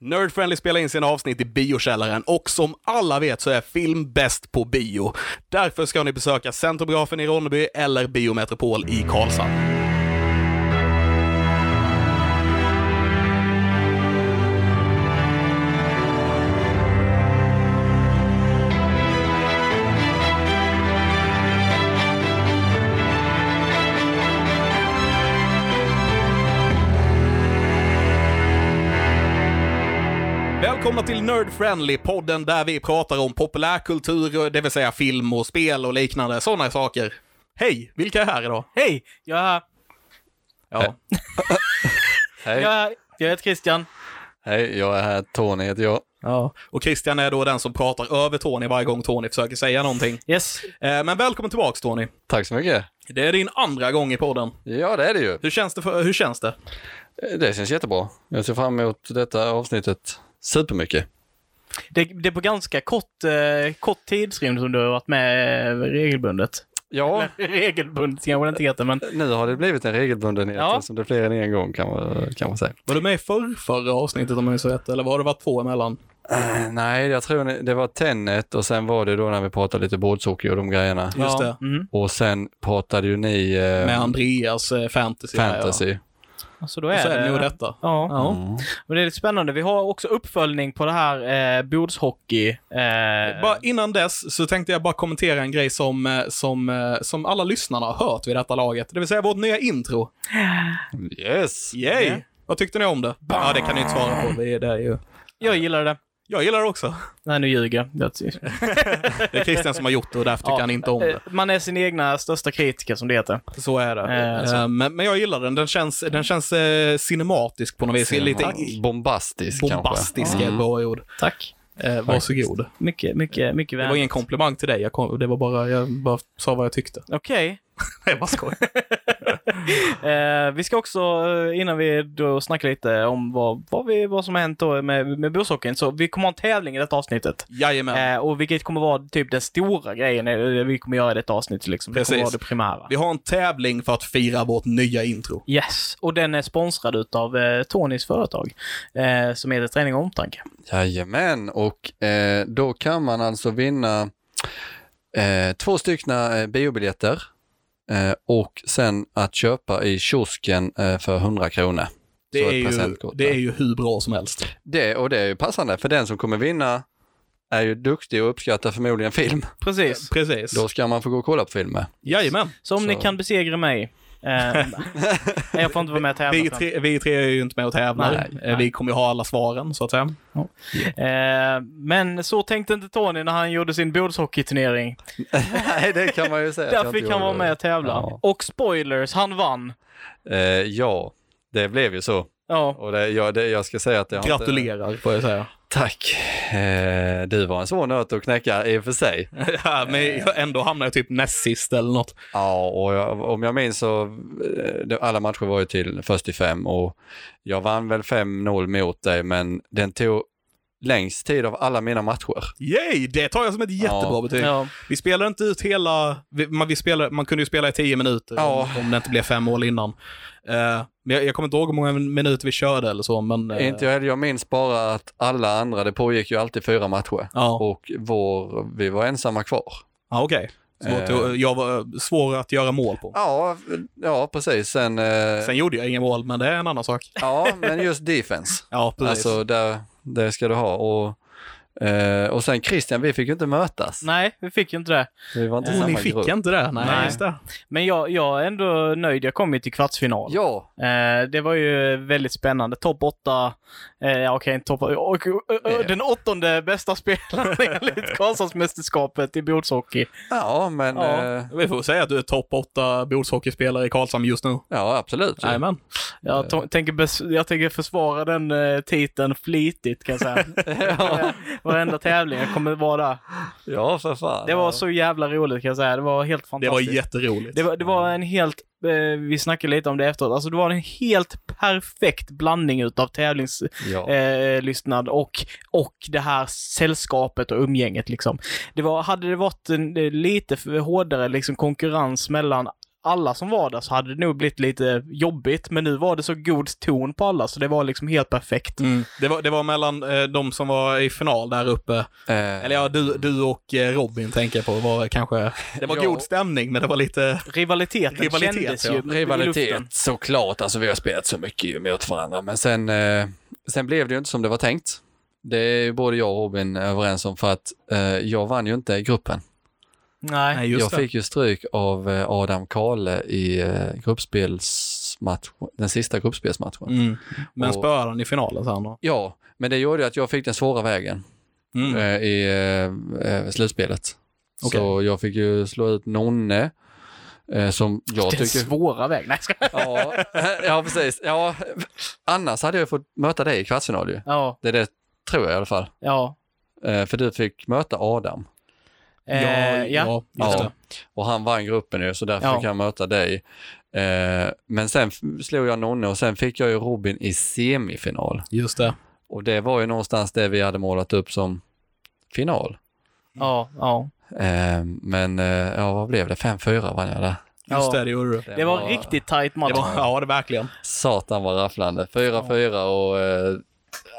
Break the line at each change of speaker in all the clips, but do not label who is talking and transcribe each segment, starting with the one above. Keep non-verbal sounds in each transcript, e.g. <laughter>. Nerdfriendly spelar in sina avsnitt i biokällaren och som alla vet så är film bäst på bio. Därför ska ni besöka Centrografen i Ronneby eller Biometropol i Karlshamn. Välkomna till Nerd Friendly, podden där vi pratar om populärkultur, det vill säga film och spel och liknande, sådana saker. Hej, vilka är här idag?
Hej! Jag,
Ja,
Hej,
jag, jag heter Christian.
hej, jag är här. Tony heter jag.
Ja.
och Christian är då den som pratar över Tony varje gång Tony försöker säga någonting.
Yes.
Eh, Men välkommen tillbaks Tony.
Tack så mycket.
Det är din andra gång i podden.
Ja, det är det ju.
Hur känns det? För, hur känns det?
Det känns jättebra. Jag ser fram emot detta avsnittet supermycket.
Det, det är på ganska kort, eh, kort tidsrymd som du har varit med eh, regelbundet.
Ja,
Eller, regelbundet kanske det inte heter, men
nu har det blivit en regelbundenhet
Ja.
som det är fler än en gång kan man, kan man säga.
Var du med i förr, förra avsnittet om jag minns rätt, eller har det varit två emellan?
Eh, Nej, jag tror ni- det var tennet och sen var det då när vi pratade lite bordshockey och de grejerna.
Just
ja.
det.
Mm.
Och sen pratade ju ni eh,
Med Andreas eh, fantasy. där,
fantasy.
Så Alltså, då
Ja. Och
är
så
det...
är det nog detta.
Ja.
Ja.
Och det är lite spännande. Vi har också uppföljning på det här eh, bordshockey. Eh,
Bara innan dess så tänkte jag bara kommentera en grej som, eh, som, eh, som alla lyssnarna har hört vid detta laget. Det vill säga vårt nya intro.
Mm. Yes!
Yay!
Ja.
Vad tyckte ni om det? Ja, det kan ni inte svara på. Det är, det är ju...
jag gillar det.
Jag gillar det också.
Nej, nu ljuger jag. jag. tycker-
Det är Christian som har gjort det och därför tycker
Ja.
han inte om det.
Eh, Man är sin egna största kritiker, som det heter.
Så är det.
Eh, så.
Eh, Men, men jag gillar den. Den känns, den känns eh, cinematisk på något vis. Lite
Bombastisk,
bombastisk
kanske. Mm.
är ett bra ord.
Tack.
Eh, Varsågod.
Mycket, mycket, mycket
Det var
vänligt.
ingen komplimang till dig. Jag kom, det var bara, jag bara sa vad jag tyckte.
Okej.
<laughs> Jag bara skojar.
Eh, vi ska också, eh, innan vi då snackar lite om vad, vad, vi, vad som har hänt då med, med bushockeyn, så vi kommer ha en tävling i detta avsnittet.
Jajamän.
Eh, och vilket kommer vara typ den stora grejen eh, vi kommer göra i detta avsnitt. Liksom. Det
Precis.
kommer vara det primära.
Vi har en tävling för att fira vårt nya intro.
Yes, och den är sponsrad utav eh, Tonys företag eh, som heter Träning och Omtanke.
Jajamän, och eh, då kan man alltså vinna eh, två stycken eh, biobiljetter eh, och sen att köpa i kiosken eh, för 100 kronor.
Det
Så ett
är, ju,
presentkort
det
där.
är ju hur bra som helst.
Det, och det är ju passande, för den som kommer vinna är ju duktig och uppskattar förmodligen film.
Precis.
Precis.
Då ska man få gå och kolla
<laughs>
på filmer.
Jajamän.
Så om ni
Så.
kan besegra mig. Eh, nej, jag får inte vara med och tävla.
Vi tre, vi tre är ju inte med och tävlar.
Nej,
Eh, Vi kommer ju ha alla svaren, så att säga.
Eh, men så tänkte inte Tony när han gjorde sin bordshockeyturnering.
Nej, det kan man ju säga. att jag
Där
inte
fick han
gjorde
vara
det.
med och tävla.
Ja.
Och spoilers, han vann.
Eh, ja, det blev ju så.
Ja,
Och det, ja, det, jag ska säga att jag har inte...
Gratulerar, får jag <laughs> säga.
Tack. Eh, du var en svår nöt att knäcka i och för sig.
ja, men jag- ändå hamnar jag typ näst sist eller något.
Ja, och jag, om jag minns så, eh, det- alla matcher var ju till först i fem och jag vann väl 5-0 mot dig, men den tog längst tid av alla mina matcher.
Yay! Det tar jag som ett jättebra
Ja.
betyg.
ja.
Vi spelar inte ut hela... Vi, man, vi spelar, man kunde ju spela i tio minuter
Ja.
om, om det inte blev fem mål innan. Eh, men jag, jag kommer inte ihåg hur många minuter vi körde eller så, men... eh,
Inte jag heller, jag minns bara att alla andra, det pågick ju alltid fyra matcher
Ja,
och vår, vi var ensamma kvar.
ja okej. Svårt
Eh.
att- Jag var svår att göra mål på.
Ja, ja precis. Sen, eh,
Sen gjorde jag inga mål, men det är en annan sak.
ja, men just defense.
Ja, <laughs> precis.
Alltså, där, det ska du ha. Och, eh, och sen Christian, vi fick ju inte mötas.
Nej, vi fick ju inte det.
Vi var inte i
oh, ni
samma
fick
grupp.
inte det? Nej,
Nej.
just det.
Men jag, jag är ändå nöjd. Jag kom ju till kvartsfinal.
Ja,
Eh, det var ju väldigt spännande. Topp 8. Eh, ja, Okej, inte topp åtta. och, och, och, och, Den åttonde bästa spelaren <laughs> enligt Karlshamnsmästerskapet i bordshockey.
ja men
Ja.
eh,
Vi får säga att du är topp 8 bordshockeyspelare i Karlshamn just nu.
Ja, absolut. ju.
Jajamän.
Jag, to- tänker, bes- jag tänker försvara den eh, titeln flitigt kan
<laughs>
jag säga.
<laughs> ja.
Varenda tävling jag kommer vara där.
ja, för fan.
Det var så jävla roligt kan jag säga. Det var helt
Det
fantastiskt.
var jätteroligt.
Det var, det var en helt, eh, vi snackade lite om det efteråt, alltså det var en helt perfekt blandning utav tävlingslystnad
Ja.
eh, lyssnad och, och det här sällskapet och umgänget liksom. Det var, hade det varit en, eh, lite för hårdare liksom konkurrens mellan alla som var där så hade det nog blivit lite jobbigt, men nu var det så god ton på alla så det var liksom helt perfekt.
Mm.
Mm.
Det var, det var mellan eh, de som var i final där uppe.
Eh,
Eller ja, du, du och eh, Robin tänker jag på var kanske... Det var
Ja.
god stämning, men det var lite...
Rivaliteten
Rivalitet,
kändes
ja.
ju i
Rivalitet,
luften.
såklart. Alltså vi har spelat så mycket ju mot varandra, men sen, eh, sen blev det ju inte som det var tänkt. Det är ju både jag och Robin överens om för att eh, jag vann ju inte i gruppen.
Nej.
Nej, just
jag
det.
fick ju stryk av eh, Adam Kale i eh, gruppspelsmatchen, den sista gruppspelsmatchen.
Mm. Men
Och-
spöade han i finalen sen då?
Ja, men det gjorde ju att jag fick den svåra vägen
Mm.
eh, i eh, eh, slutspelet.
Okej.
Så jag fick ju slå ut Nonne, eh, som jag
Den
tycker...
<laughs> svåra vägen. Nej, jag skojar.
Ja, <laughs> ja, precis. Ja, annars hade jag fått möta dig i kvartsfinal ju.
Ja,
Det är det, tror jag i alla fall.
ja.
Eh, För du fick möta Adam
Eh, ja,
ja, just
Ja.
det.
och han vann gruppen ju, så därför
Ja.
kan jag möta dig. Eh, Men sen f- slog jag Nonne och sen fick jag ju Robin i semifinal.
Just det.
Och det var ju någonstans det vi hade målat upp som final.
ja, ja.
Eh, Men eh, ja, vad blev det? 5-4 vann jag där.
Just
Ja.
det, det gjorde du.
Det var en riktigt tight match.
Det var, ja, det verkligen.
Satan vad rafflande. 4-4 och... eh,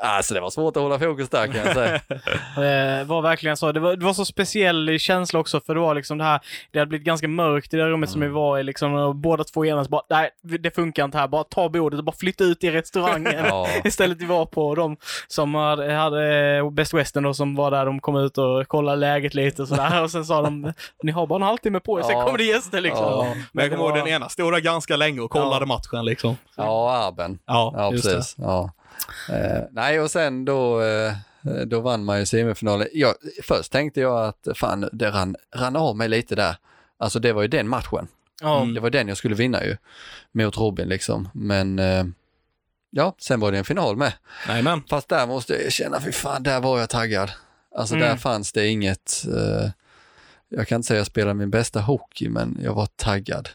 Alltså det var svårt att hålla fokus där kan jag
<laughs>
säga.
<laughs> Eh, var verkligen så. Det var, det var så speciell känsla också för det var liksom det här, det hade blivit ganska mörkt i det här rummet
Mm.
som vi var i liksom och båda två genast bara, nej det funkar inte här, bara ta bordet och bara flytta ut
<laughs>
i restaurangen.
Ja.
<laughs> Istället vi var på de som hade, hade eh, Best Western då som var där, de kom ut och kollade läget lite och sådär och sen sa de, ni har bara en halvtimme på er, sen
Ja.
kommer det gäster liksom.
Ja.
Men
Men jag kommer
det
ihåg
var-
den ena stod där ganska länge och kollade
Ja.
matchen liksom.
Ja, Arben.
Ja,
Ja,
just
precis. Ja. Eh, nej, och sen då, eh, då vann man ju semifinalen. Jag, först tänkte jag att fan, det rann, rann av mig lite där. Alltså det var ju den matchen.
Ja.
Det var den jag skulle vinna ju mot Robin liksom. Men eh, ja, sen var det en final med.
det. Jajamän.
Fast där måste jag erkänna, fy fan, där var jag taggad. Alltså
Mm.
där fanns det inget, eh, jag kan inte säga jag spelade min bästa hockey, men jag var taggad.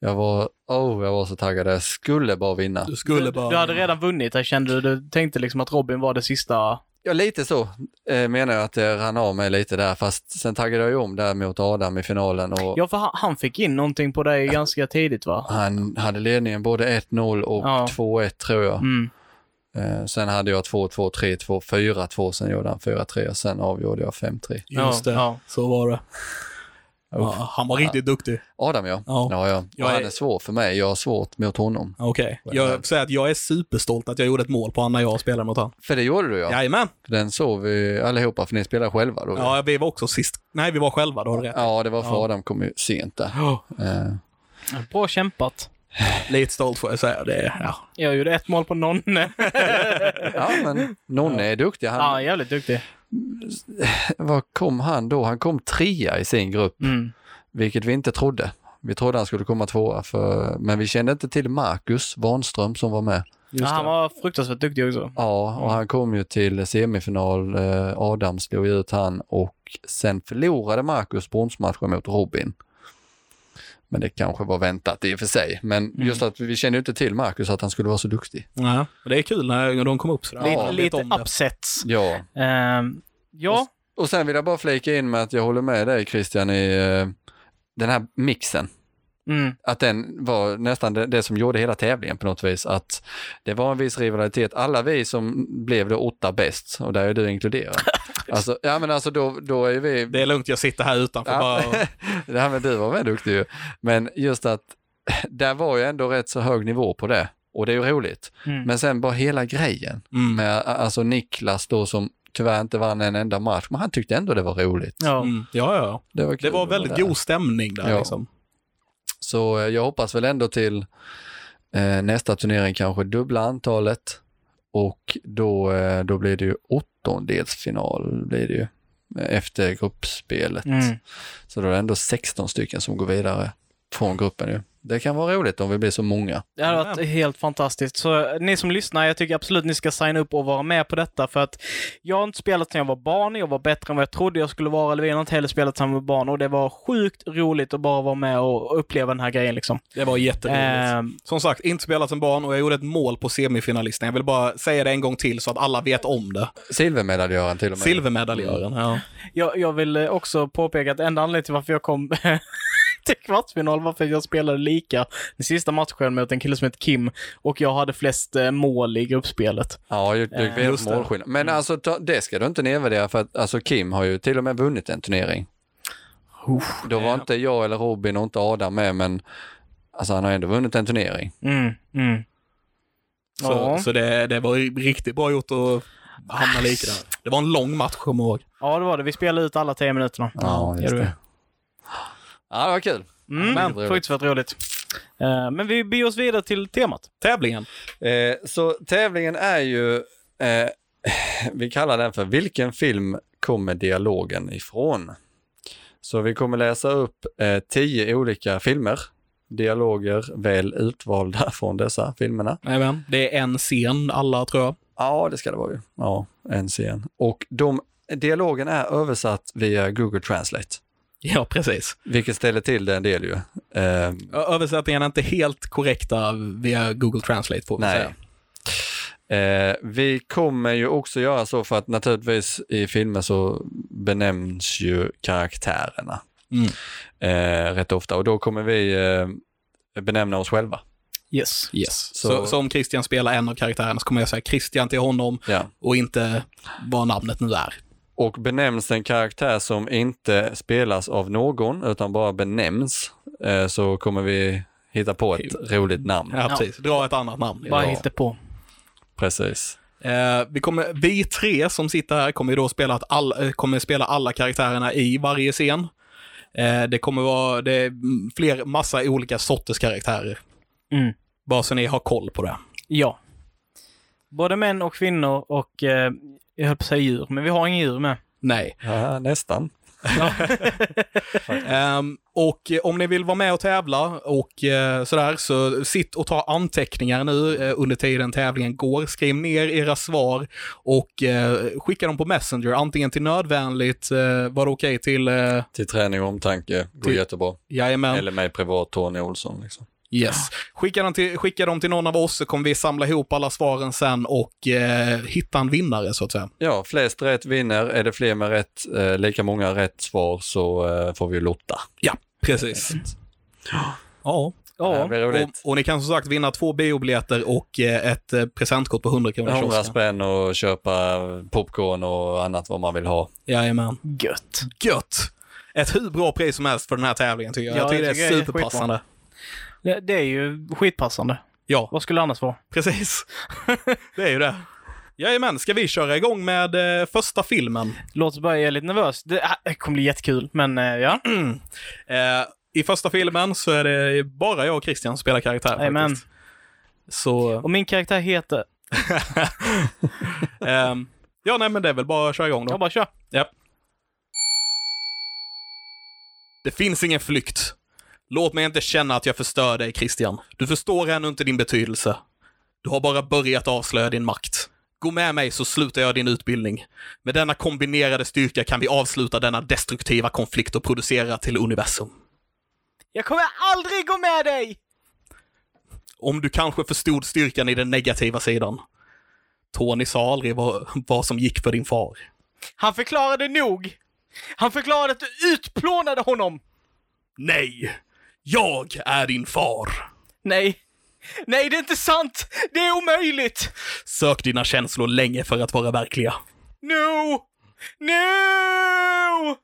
Jag var, oh, jag var så taggad, jag skulle bara vinna.
Du skulle
Du,
bara...
du hade redan vunnit här kände du, du tänkte liksom att Robin var det sista.
Ja, lite så eh, menar jag att det rann av mig lite där, fast sen taggade jag ju om där mot Adam i finalen och
Ja, för han, han fick in någonting på dig ganska tidigt va?
han hade ledningen både 1-0 och
Ja.
2-1 tror jag.
Mm.
Eh, sen hade jag 2-2, 3-2, 4-2, sen gjorde han 4-3 och sen avgjorde jag 5-3.
Just
Ja,
det,
ja.
så var det. Ja, han var riktigt duktig.
Adam ja.
Ja.
Ja, ja.
Jag
Och han
är-
är svår för mig, jag har svårt mot honom.
Okej. Jag får säga att jag är superstolt att jag gjorde ett mål på honom när jag spelade mot honom.
För det gjorde du ja.
Jajamän.
Den såg vi allihopa, för ni spelade själva då.
Ja, vi var också sist. Nej, vi var själva, då har du rätt.
Ja, det var för
Ja.
Adam kom ju sent där.
Ja.
Eh,
Bra kämpat.
Lite stolt får jag säga. Det, är- ja.
Jag gjorde ett mål på någon.
ja, men Nonne är duktig. Han, <laughs>
ja, jävligt duktig.
Vad kom han då? Han kom trea i sin grupp,
Mm.
vilket vi inte trodde. Vi trodde han skulle komma tvåa, för, men vi kände inte till Marcus Warnström som var med.
Ja,
Just
han
det.
var fruktansvärt duktig också.
Ja, och han kom ju till semifinal. Eh, Adam slog ju ut han och sen förlorade Marcus bronsmatchen mot Robin. Men det kanske var väntat i och för sig. Men just att vi kände ju inte till Marcus att han skulle vara så duktig.
Nej, och det är kul när de kom upp sådär.
Lite-
Ja, vet
Lite
om det.
upsets.
Ja,
Ehm, ja,
Och sen vill jag bara flika in med att jag håller med dig Christian i eh, den här mixen.
mm.
Att den var nästan det, det som gjorde hela tävlingen på något vis. Att det var en viss rivalitet. Alla vi som blev då åtta bäst, och där är du inkluderad. Alltså, ja men alltså då, då är vi...
Det är lugnt, jag sitter här utanför
Ja.
bara och...
Det här med du var väldigt duktig ju. Men just att <laughs> där var ju ändå rätt så hög nivå på det. Och det är ju roligt.
Mm.
Men sen bara hela grejen.
Mm.
Med, alltså Niklas då som tyvärr inte vann en enda match, men han tyckte ändå det var roligt.
ja.
Mm. Ja, ja, ja.
Det var,
Det
kul
var
att vara
väldigt
där.
god stämning där
Ja.
liksom.
Så eh, jag hoppas väl ändå till eh, nästa turnering kanske dubbla antalet och då, eh, då blir det ju åttondelsfinal blir det ju eh, efter gruppspelet.
Mm.
Så då är det ändå 16 stycken som går vidare från gruppen ju. Det kan vara roligt om vi blir så många.
Det hade varit helt fantastiskt. Så eh, ni som lyssnar, jag tycker absolut ni ska signa upp och vara med på detta för att jag har inte spelat sedan jag var barn. Jag var bättre än vad jag trodde jag skulle vara. Eller vi har inte heller spelat sedan vi var barn och det var sjukt roligt att bara vara med och uppleva den här grejen liksom.
Det var jätteroligt.
Ehm,
Som sagt, inte spelat som barn och jag gjorde ett mål på semifinalisten. Jag vill bara säga det en gång till så att alla vet om det.
Mm. Silvermedaljören till och med.
Silvermedaljören. Ja.
Jag, jag vill eh, också påpeka att enda anledningen till varför jag kom <laughs> till kvartsfinal varför jag spelade lika den sista matchen mot en kille som heter Kim och jag hade flest eh, mål i gruppspelet.
Ja, jag, jag
Eh,
vet
just det.
målskillnad. Men alltså, ta, det ska du inte nedvärdera för att alltså, Kim har ju till och med vunnit en turnering. Då var
ja.
inte jag eller Robin och inte Adam med, men alltså, han har ändå vunnit en turnering.
Mm, mm.
Så,
Ja.
så det, det var riktigt bra gjort att hamna lika där. Det var en lång match, kommer jag ihåg.
ja, det var det. Vi spelade ut alla tio minuterna. gör du.
Ja, det var kul. Men-
Mm, men fruktansvärt roligt. Eh, Men vi beger oss vidare till temat.
Tävlingen.
Eh, så tävlingen är ju, eh, vi kallar den för Vilken film kommer dialogen ifrån? Så vi kommer läsa upp eh, tio olika filmer, dialoger väl utvalda <laughs> från dessa filmerna.
Amen. Det är en scen, alla tror jag.
Ja, det ska det vara ju. Ja, en scen. Och de, dialogen är översatt via Google Translate,
Ja, precis.
vilket ställer till det en del ju. Eh,
Ö- Översättningen är inte helt korrekta via Google Translate, får vi
Nej.
säga.
Eh, vi kommer ju också göra så för att naturligtvis i filmer så benämns ju karaktärerna
Mm.
eh, rätt ofta och då kommer vi eh, benämna oss själva.
Yes.
Yes. Så...
Så-
Så, om Christian spelar en av karaktärerna så kommer jag säga Christian till honom
Ja.
och inte vad namnet nu är.
Och benämns en karaktär som inte spelas av någon utan bara benämns eh, så kommer vi hitta på ett roligt namn.
Ja, precis. Dra ett annat namn.
Bara
Ja.
hitta på.
Precis.
Eh, vi, kommer, vi tre som sitter här kommer ju då spela, att all, eh, kommer spela alla karaktärerna i varje scen. Eh, det kommer vara det är mm, fler, massa olika sorters karaktärer.
Mm.
Bara så ni har koll på det.
Ja. Både män och kvinnor och, eh, jag höll på att säga djur, men vi har inga djur med.
Nej.
Ja, nästan.
Ehm, och eh, om ni vill vara med och tävla och eh, sådär, så sitt och ta anteckningar nu eh, under tiden tävlingen går. Skriv ner era svar och eh, skicka dem på Messenger, antingen till nödvändigt, eh, var det okej till, eh,
Till träning och omtanke går
Till-
jättebra.
jajamän.
Eller mig privat, Tony Olsson. Liksom.
Yes. Skicka dem, till, skicka dem till någon av oss så kommer vi samla ihop alla svaren sen och eh, hitta en vinnare så att säga.
Ja, flest rätt vinner. Är det fler med rätt, eh, lika många rätt svar så eh, får vi lotta.
Ja, precis. Ja.
Det
Ja.
här blir
Och,
roligt.
och ni kan som sagt vinna två biobiljetter och eh, ett eh, presentkort på 100 kronor. i
100
kiosken.
spänn och köpa popcorn och annat vad man vill ha.
Jajamän.
Gött.
Gött! Ett hur bra pris som helst för den här tävlingen tycker jag.
Ja,
jag tycker
jag
det är
tycker det är
superpassande.
Det, det är ju skitpassande.
ja,
Vad skulle det annars vara?
precis. <laughs> det är ju det. Jajamän, ska vi köra igång med eh, första filmen?
Låt oss börja, jag är lite nervös. Det, ah, det kommer bli jättekul, men eh, ja.
Eh, I första filmen så är det bara jag och Christian som spelar karaktär.
Jajamän.
faktiskt. Så,
Och min karaktär heter...
ehm, ja nej men det är väl bara att köra igång då.
Jag bara kör.
Ja. Det finns ingen flykt. Låt mig inte känna att jag förstör dig, Christian. Du förstår ännu inte din betydelse. Du har bara börjat avslöja din makt. Gå med mig så slutar jag din utbildning. Med denna kombinerade styrka kan vi avsluta denna destruktiva konflikt och producera till universum.
Jag kommer aldrig gå med dig!
Om du kanske förstod styrkan i den negativa sidan. Tony sa aldrig vad, vad som gick för din far.
Han förklarade nog. Han förklarade att du utplånade honom.
Nej! Jag är din far!
Nej. Nej, det är inte sant! Det är omöjligt!
Sök dina känslor länge för att vara verkliga.
No! No!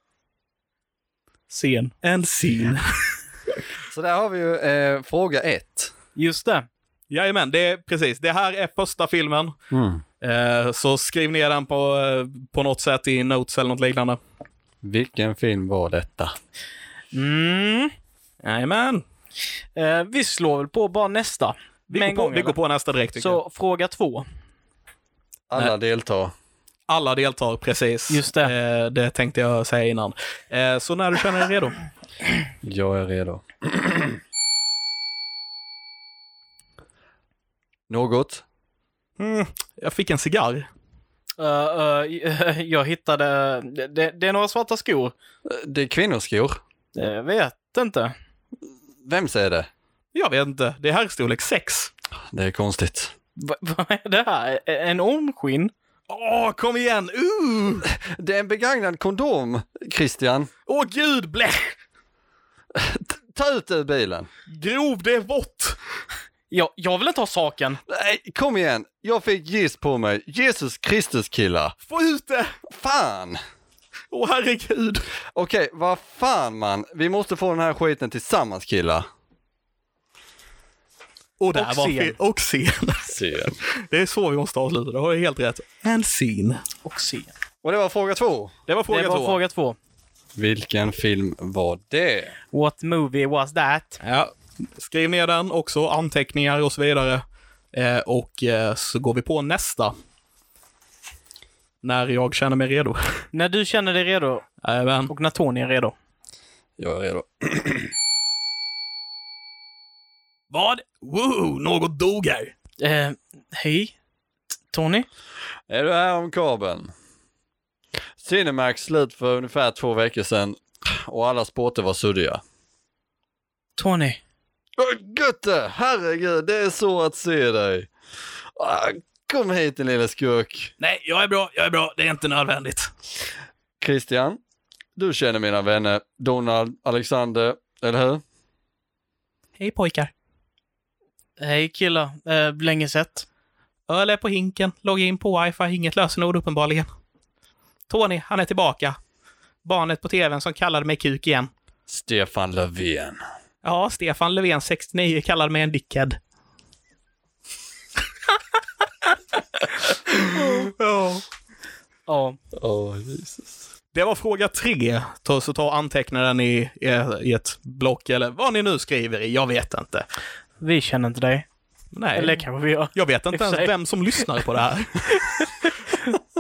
Scen.
En scen.
Så där har vi ju eh, fråga ett.
Just det.
Jajamän, det är precis. Det här är första filmen. Eh, så skriv ner den på, eh, på något sätt i notes eller något liknande.
Vilken film var detta?
Mm.
Jajamän.
Eh, vi slår väl på bara nästa.
Vi,
Med
går
en
på,
gång,
vi går
eller?
på nästa direkt tycker jag.
Så fråga två.
Alla deltar.
Alla deltar precis.
Just det.
Eh, det tänkte jag säga innan. Eh, så när du känner dig redo.
Jag är redo. <clears throat> Något?
Mm, jag fick en cigarr.
Eh, eh, <laughs> jag hittade... Det, det, det är några svarta skor.
Det är kvinnoskor.
Jag vet inte.
Vems är det?
Jag vet inte. Det är herrstorlek 6.
Det är konstigt.
Va- Vad är det här? E- En ormskinn?
Åh, kom igen! Uh!
Det är en begagnad kondom, Christian.
Åh gud, blä!
Ta ut det ur bilen.
Grov, det är vått!
Jag, jag vill inte ha saken.
Nej, kom igen. Jag fick giss på mig. Jesus Kristus killar.
Få ut det!
Fan!
Åh herregud.
Okej, vad fan man. Vi måste få den här skiten tillsammans killar.
Och där
Och
var
scen.
fe- Och scen.
Sen.
<laughs> Det är så vi måste avsluta, det har jag helt rätt. En scen.
Och se.
Och det var fråga två.
Det var
Det
fråga
var
två.
fråga två.
Vilken film var det?
What movie was that?
Ja. Skriv ner den också, anteckningar och så vidare. Eh, och eh, så går vi på nästa. När jag känner mig redo.
När du känner dig redo
Även.
och när Tony är redo.
Jag är redo.
Vad? Woo, något dog här.
Eh, hej? T- Tony?
Är du här om kabeln? Cinemax slut för ungefär två veckor sedan och alla spåter var suddiga.
Tony?
Åh, Götte, herregud, det är så att se dig. Ah, Kom hit din lilla skurk.
Nej, jag är bra, jag är bra. Det är inte nödvändigt.
Christian, du känner mina vänner Donald, Alexander, eller hur?
Hej pojkar.
Hej killar. Eh, länge sett.
Öl är på hinken, logga in på wifi, inget lösenord uppenbarligen. Tony, han är tillbaka. Barnet på tvn som kallade mig kuk igen.
Stefan Löfven.
Ja, Stefan Löfven, 69, kallade mig en dickhead. <laughs> Ja.
Ja.
Åh, Jesus.
Det var fråga tre. Ta, så ta och anteckna den i, i- i ett block eller vad ni nu skriver i. Jag vet inte.
Vi känner inte dig.
Nej,
Eller kanske vi gör.
jag vet
i och
inte
för
ens
sig.
vem som lyssnar på det
<laughs>
här.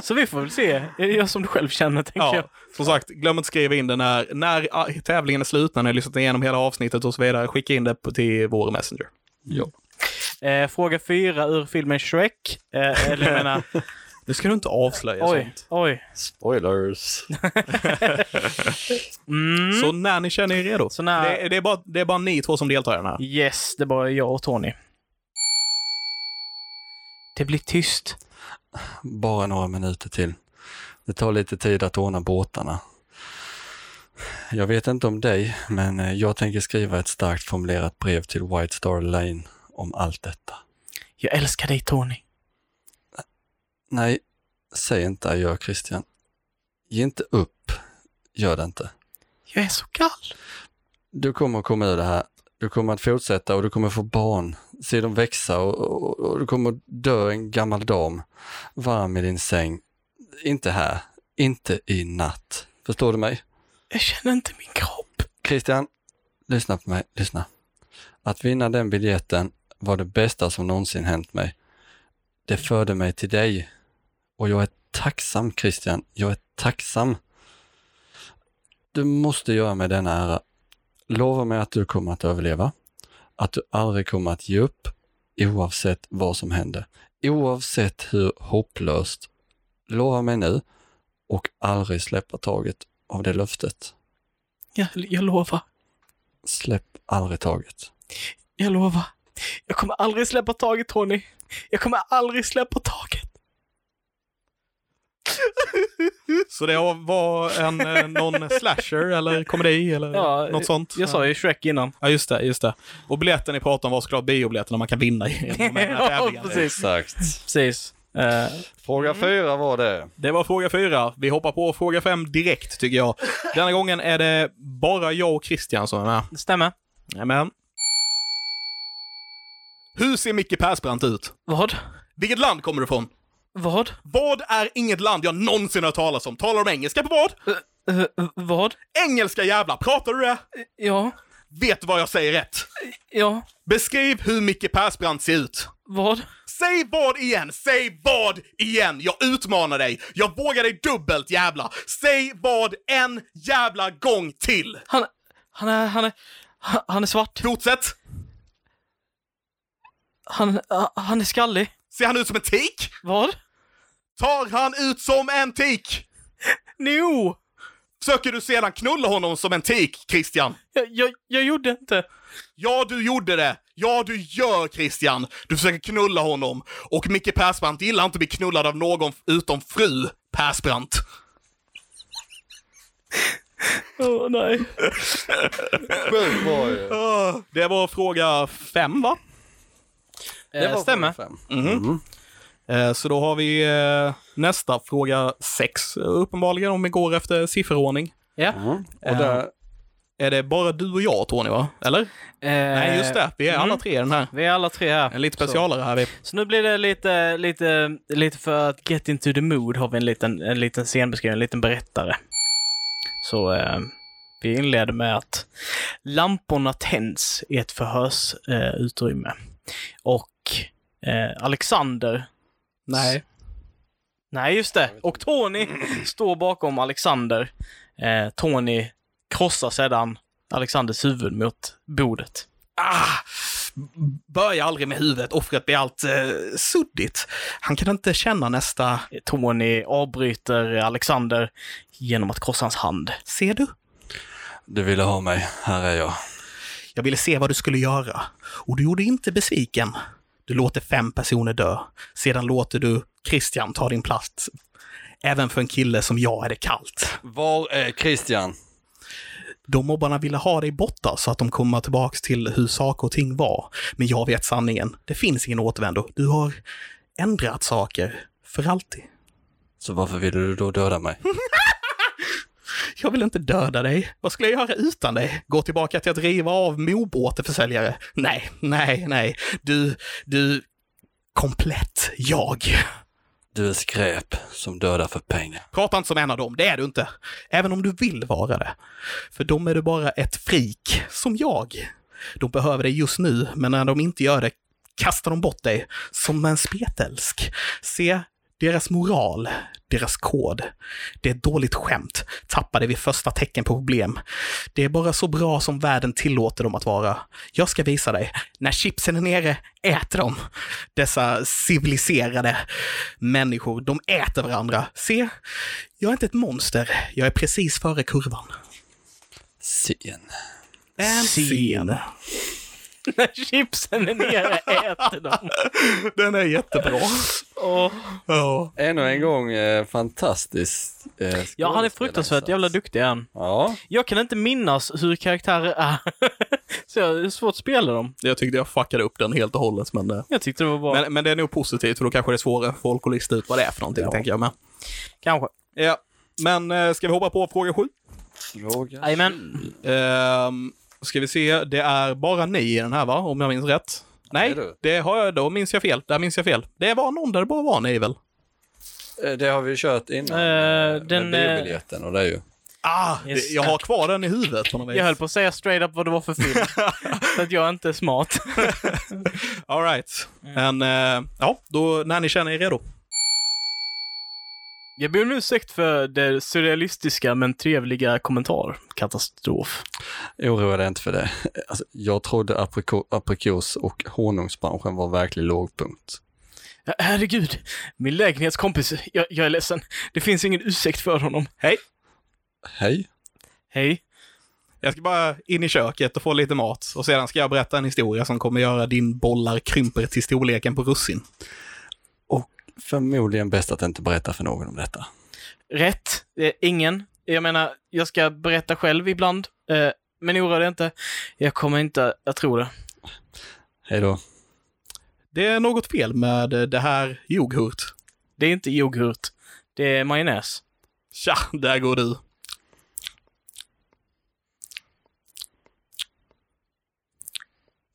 Så vi får väl se. Är det jag som du själv känner, tänker
Ja,
jag.
som sagt, glöm inte skriva in det när, när ah, tävlingen är slut, när ni har lyssnat igenom hela avsnittet och så vidare. Skicka in det på- till vår Messenger.
Ja.
Eh, fråga fyra ur filmen Shrek. Eh, eller jag
<laughs>
menar,
Nu ska du inte avslöja
oj,
sånt.
oj.
Spoilers.
Mm.
Så när ni känner er redo.
Så när-
Det, är- det, är bara, det är bara ni två som deltar i den här.
Yes, det var jag och Tony. Det blir tyst.
<laughs> Bara några minuter till. Det tar lite tid att ordna båtarna. Jag vet inte om dig, men eh, jag tänker skriva ett starkt formulerat brev till White Star Lane om allt detta.
Jag älskar dig Tony.
Nej, säg inte adjö Christian. Ge inte upp. Gör det inte.
Jag är så kall.
Du kommer att komma ur det här. Du kommer att fortsätta och du kommer få barn. Se dem växa och, och, och du kommer att dö en gammal dam. Varm i din säng. Inte här. Inte i natt. Förstår du mig?
Jag känner inte min kropp.
Christian, lyssna på mig. Lyssna. Att vinna den biljetten var det bästa som någonsin hänt mig. Det förde mig till dig. Och jag är tacksam Christian. Jag är tacksam. Du måste göra mig denna ära. Lova mig att du kommer att överleva. Att du aldrig kommer att ge upp oavsett vad som händer. Oavsett hur hopplöst. Lova mig nu och aldrig släppa taget av det löftet.
Jag, jag lovar.
Släpp aldrig taget.
Jag lovar. Jag kommer aldrig släppa taget Tony. Jag kommer aldrig släppa taget.
Så det var en, eh, någon slasher eller komedi eller
Ja,
något sånt?
Jag sa ju Shrek innan.
Ja, just det, just det. Och biljetten ni pratade om var såklart biobiljetterna man kan vinna i
<laughs>
genom de här
Ja,
tävlingarna.
precis.
Exakt.
Precis. Eh,
Fråga fyra var det.
Det var fråga fyra. Vi hoppar på fråga fem direkt, tycker jag. Denna gången är det bara jag och Christian som är med.
det stämmer.
Jajamän. Hur ser Micke Persbrandt ut?
Vad?
Vilket land kommer du ifrån?
Vad?
Vad är inget land jag någonsin hört talas om? Talar de engelska på vad?
Eh, vad?
Engelska jävla, pratar du det?
Ja.
Vet du vad jag säger rätt?
Ja.
Beskriv hur Micke Persbrandt ser ut.
Vad?
Säg vad igen, säg vad igen! Jag utmanar dig, jag vågar dig dubbelt jävla! Säg vad en jävla gång till!
Han, han är, han är, han, han är svart.
Fortsätt!
Han, han är skallig.
Ser han ut som en tik?
Vad?
Tar han ut som en tik?
No!
Söker du sedan knulla honom som en tik, Christian?
Jag, jag, jag gjorde inte.
Ja, du gjorde det! Ja, du gör Christian! Du försöker knulla honom. Och Micke Persbrandt gillar inte att bli knullad av någon utom fru Persbrandt.
Åh, nej.
Sjukt bra ju.
Ah, Det var fråga fem, va?
Det stämmer.
Mm.
Eh, Så då har vi eh, nästa fråga sex, eh, uppenbarligen, om vi går efter sifferordning.
Ja.
Mm. Och där,
Är det bara du och jag, Tony, va? Eller? Nej, just det. Vi är alla tre i den här.
Mm. Vi är alla tre här.
En lite specialare här. Vi.
Så nu blir det lite, lite, lite för att get into the mood har vi en liten, en liten scenbeskrivning, en liten berättare. Så eh, vi inleder med att lamporna tänds i ett förhörsutrymme. Eh, utrymme. och eh, Alexander,
Nej.
nej just det, och Tony står bakom Alexander. Eh, Tony krossar sedan Alexanders huvud mot bordet.
Ah! Börja aldrig med huvudet. Offret blir allt eh, suddigt. Han kan inte känna nästa...
Tony avbryter Alexander genom att krossa hans hand.
Ser du?
du ville ha mig, här är jag.
Jag ville se vad du skulle göra. Och du gjorde inte besviken. Du låter fem personer dö. Sedan låter du Christian ta din plats. Även för en kille som jag är det kallt.
Var är Christian?
De mobbarna ville ha dig borta så att de kommer tillbaks till hur saker och ting var. Men jag vet sanningen. Det finns ingen återvändo. Du har ändrat saker. För alltid.
Så varför ville du då döda mig?
Jag vill inte döda dig. Vad skulle jag göra utan dig? Gå tillbaka till att riva av mobåteförsäljare? Nej, nej, nej. Du, du... Komplett jag.
Du är skräp som dödar för pengar.
Prata inte som en av dem, det är du inte. Även om du vill vara det. För de är du bara ett frik, som jag. De behöver dig just nu, men när de inte gör det kastar de bort dig som en spetälsk. Se, deras moral, deras kod. Det är ett dåligt skämt, tappade vid första tecken på problem. Det är bara så bra som världen tillåter dem att vara. Jag ska visa dig. När chipsen är nere, ät dem. Dessa civiliserade människor, de äter varandra. Se, jag är inte ett monster. Jag är precis före kurvan.
Sen.
En
Scen. <laughs> När chipsen är nere äter de.
Den är jättebra.
Och
Ja.
Ännu en gång eh, fantastisk eh,
ja, han är fruktansvärt jävla duktig han.
Ja,
Jag kan inte minnas hur karaktärer är. <laughs> Så jag det är svårt att spela dem.
Jag tyckte jag fuckade upp den helt och hållet, men, eh,
Jag tyckte det var bra.
men, men det är nog positivt, för då kanske det är svårare för folk att lista ut vad det är för någonting,
Ja.
tänker jag med.
Kanske.
Ja. Men eh, ska vi hoppa på fråga sju?
fråga.
Jajamän.
Ehm, ska vi se, det är bara ni i den här va? Om jag minns rätt? Nej,
det är du.
det har jag, då minns jag fel. Där minns jag fel. Det var någon där det bara var ni väl?
Eh, Det har vi kört innan.
Eh,
eh,
den,
med biobiljetten och det är ju.
Ah,
Yes.
det, jag har kvar den i huvudet på något vis.
Jag höll på att säga straight up vad det var
<laughs>
för film. så att jag inte är smart.
All right.
Mm.
Men eh, ja, då när ni känner er redo.
Jag ber om ursäkt för det surrealistiska men trevliga kommentar. Katastrof.
Oroa dig inte för det. Alltså, jag trodde apriko- aprikos och honungsbranschen var verklig lågpunkt.
Her- Herregud, min lägenhetskompis, jag, jag är ledsen. Det finns ingen ursäkt för honom.
Hej!
Hej.
Hej.
Jag ska bara in i köket och få lite mat och sedan ska jag berätta en historia som kommer göra din bollar krymper till storleken på russin.
Och förmodligen bäst att inte berätta för någon om detta.
Rätt. Eh, ingen. Jag menar, jag ska berätta själv ibland. Eh, men oroa dig inte. Jag kommer inte att tro det.
Hej då.
Det är något fel med eh, det här yoghurt.
Det är inte yoghurt. Det är majonnäs.
Tja, där går du.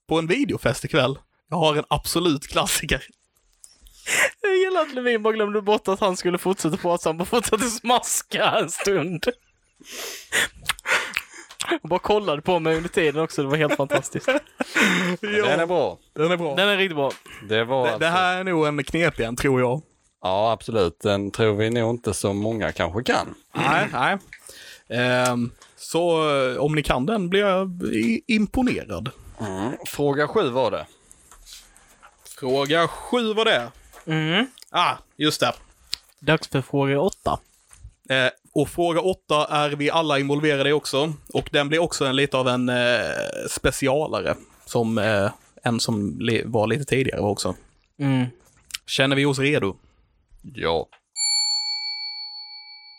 På en videofest ikväll. Jag har en absolut klassiker.
Jag gillar att Levin bara glömde bort att han skulle fortsätta prata, så han bara fortsatte smaska en stund. Och bara kollade på mig under tiden också, det var helt fantastiskt.
Den är bra.
den är bra.
Den är riktigt bra.
Det var alltså-
Det, det här är nog en knepig en, tror jag.
Ja, absolut. Den tror vi nog inte så många kanske kan.
Nej, nej. Ehm, så eh, om ni kan den blir jag i- imponerad.
Mm. Fråga sju var det.
Fråga sju var det.
Mm.
Ah, just det.
Dags för fråga åtta.
Eh, och fråga åtta är vi alla involverade i också. Och den blir också en, lite av en eh, specialare. Som eh, en som li- var lite tidigare var också.
Mm.
Känner vi oss redo?
Ja.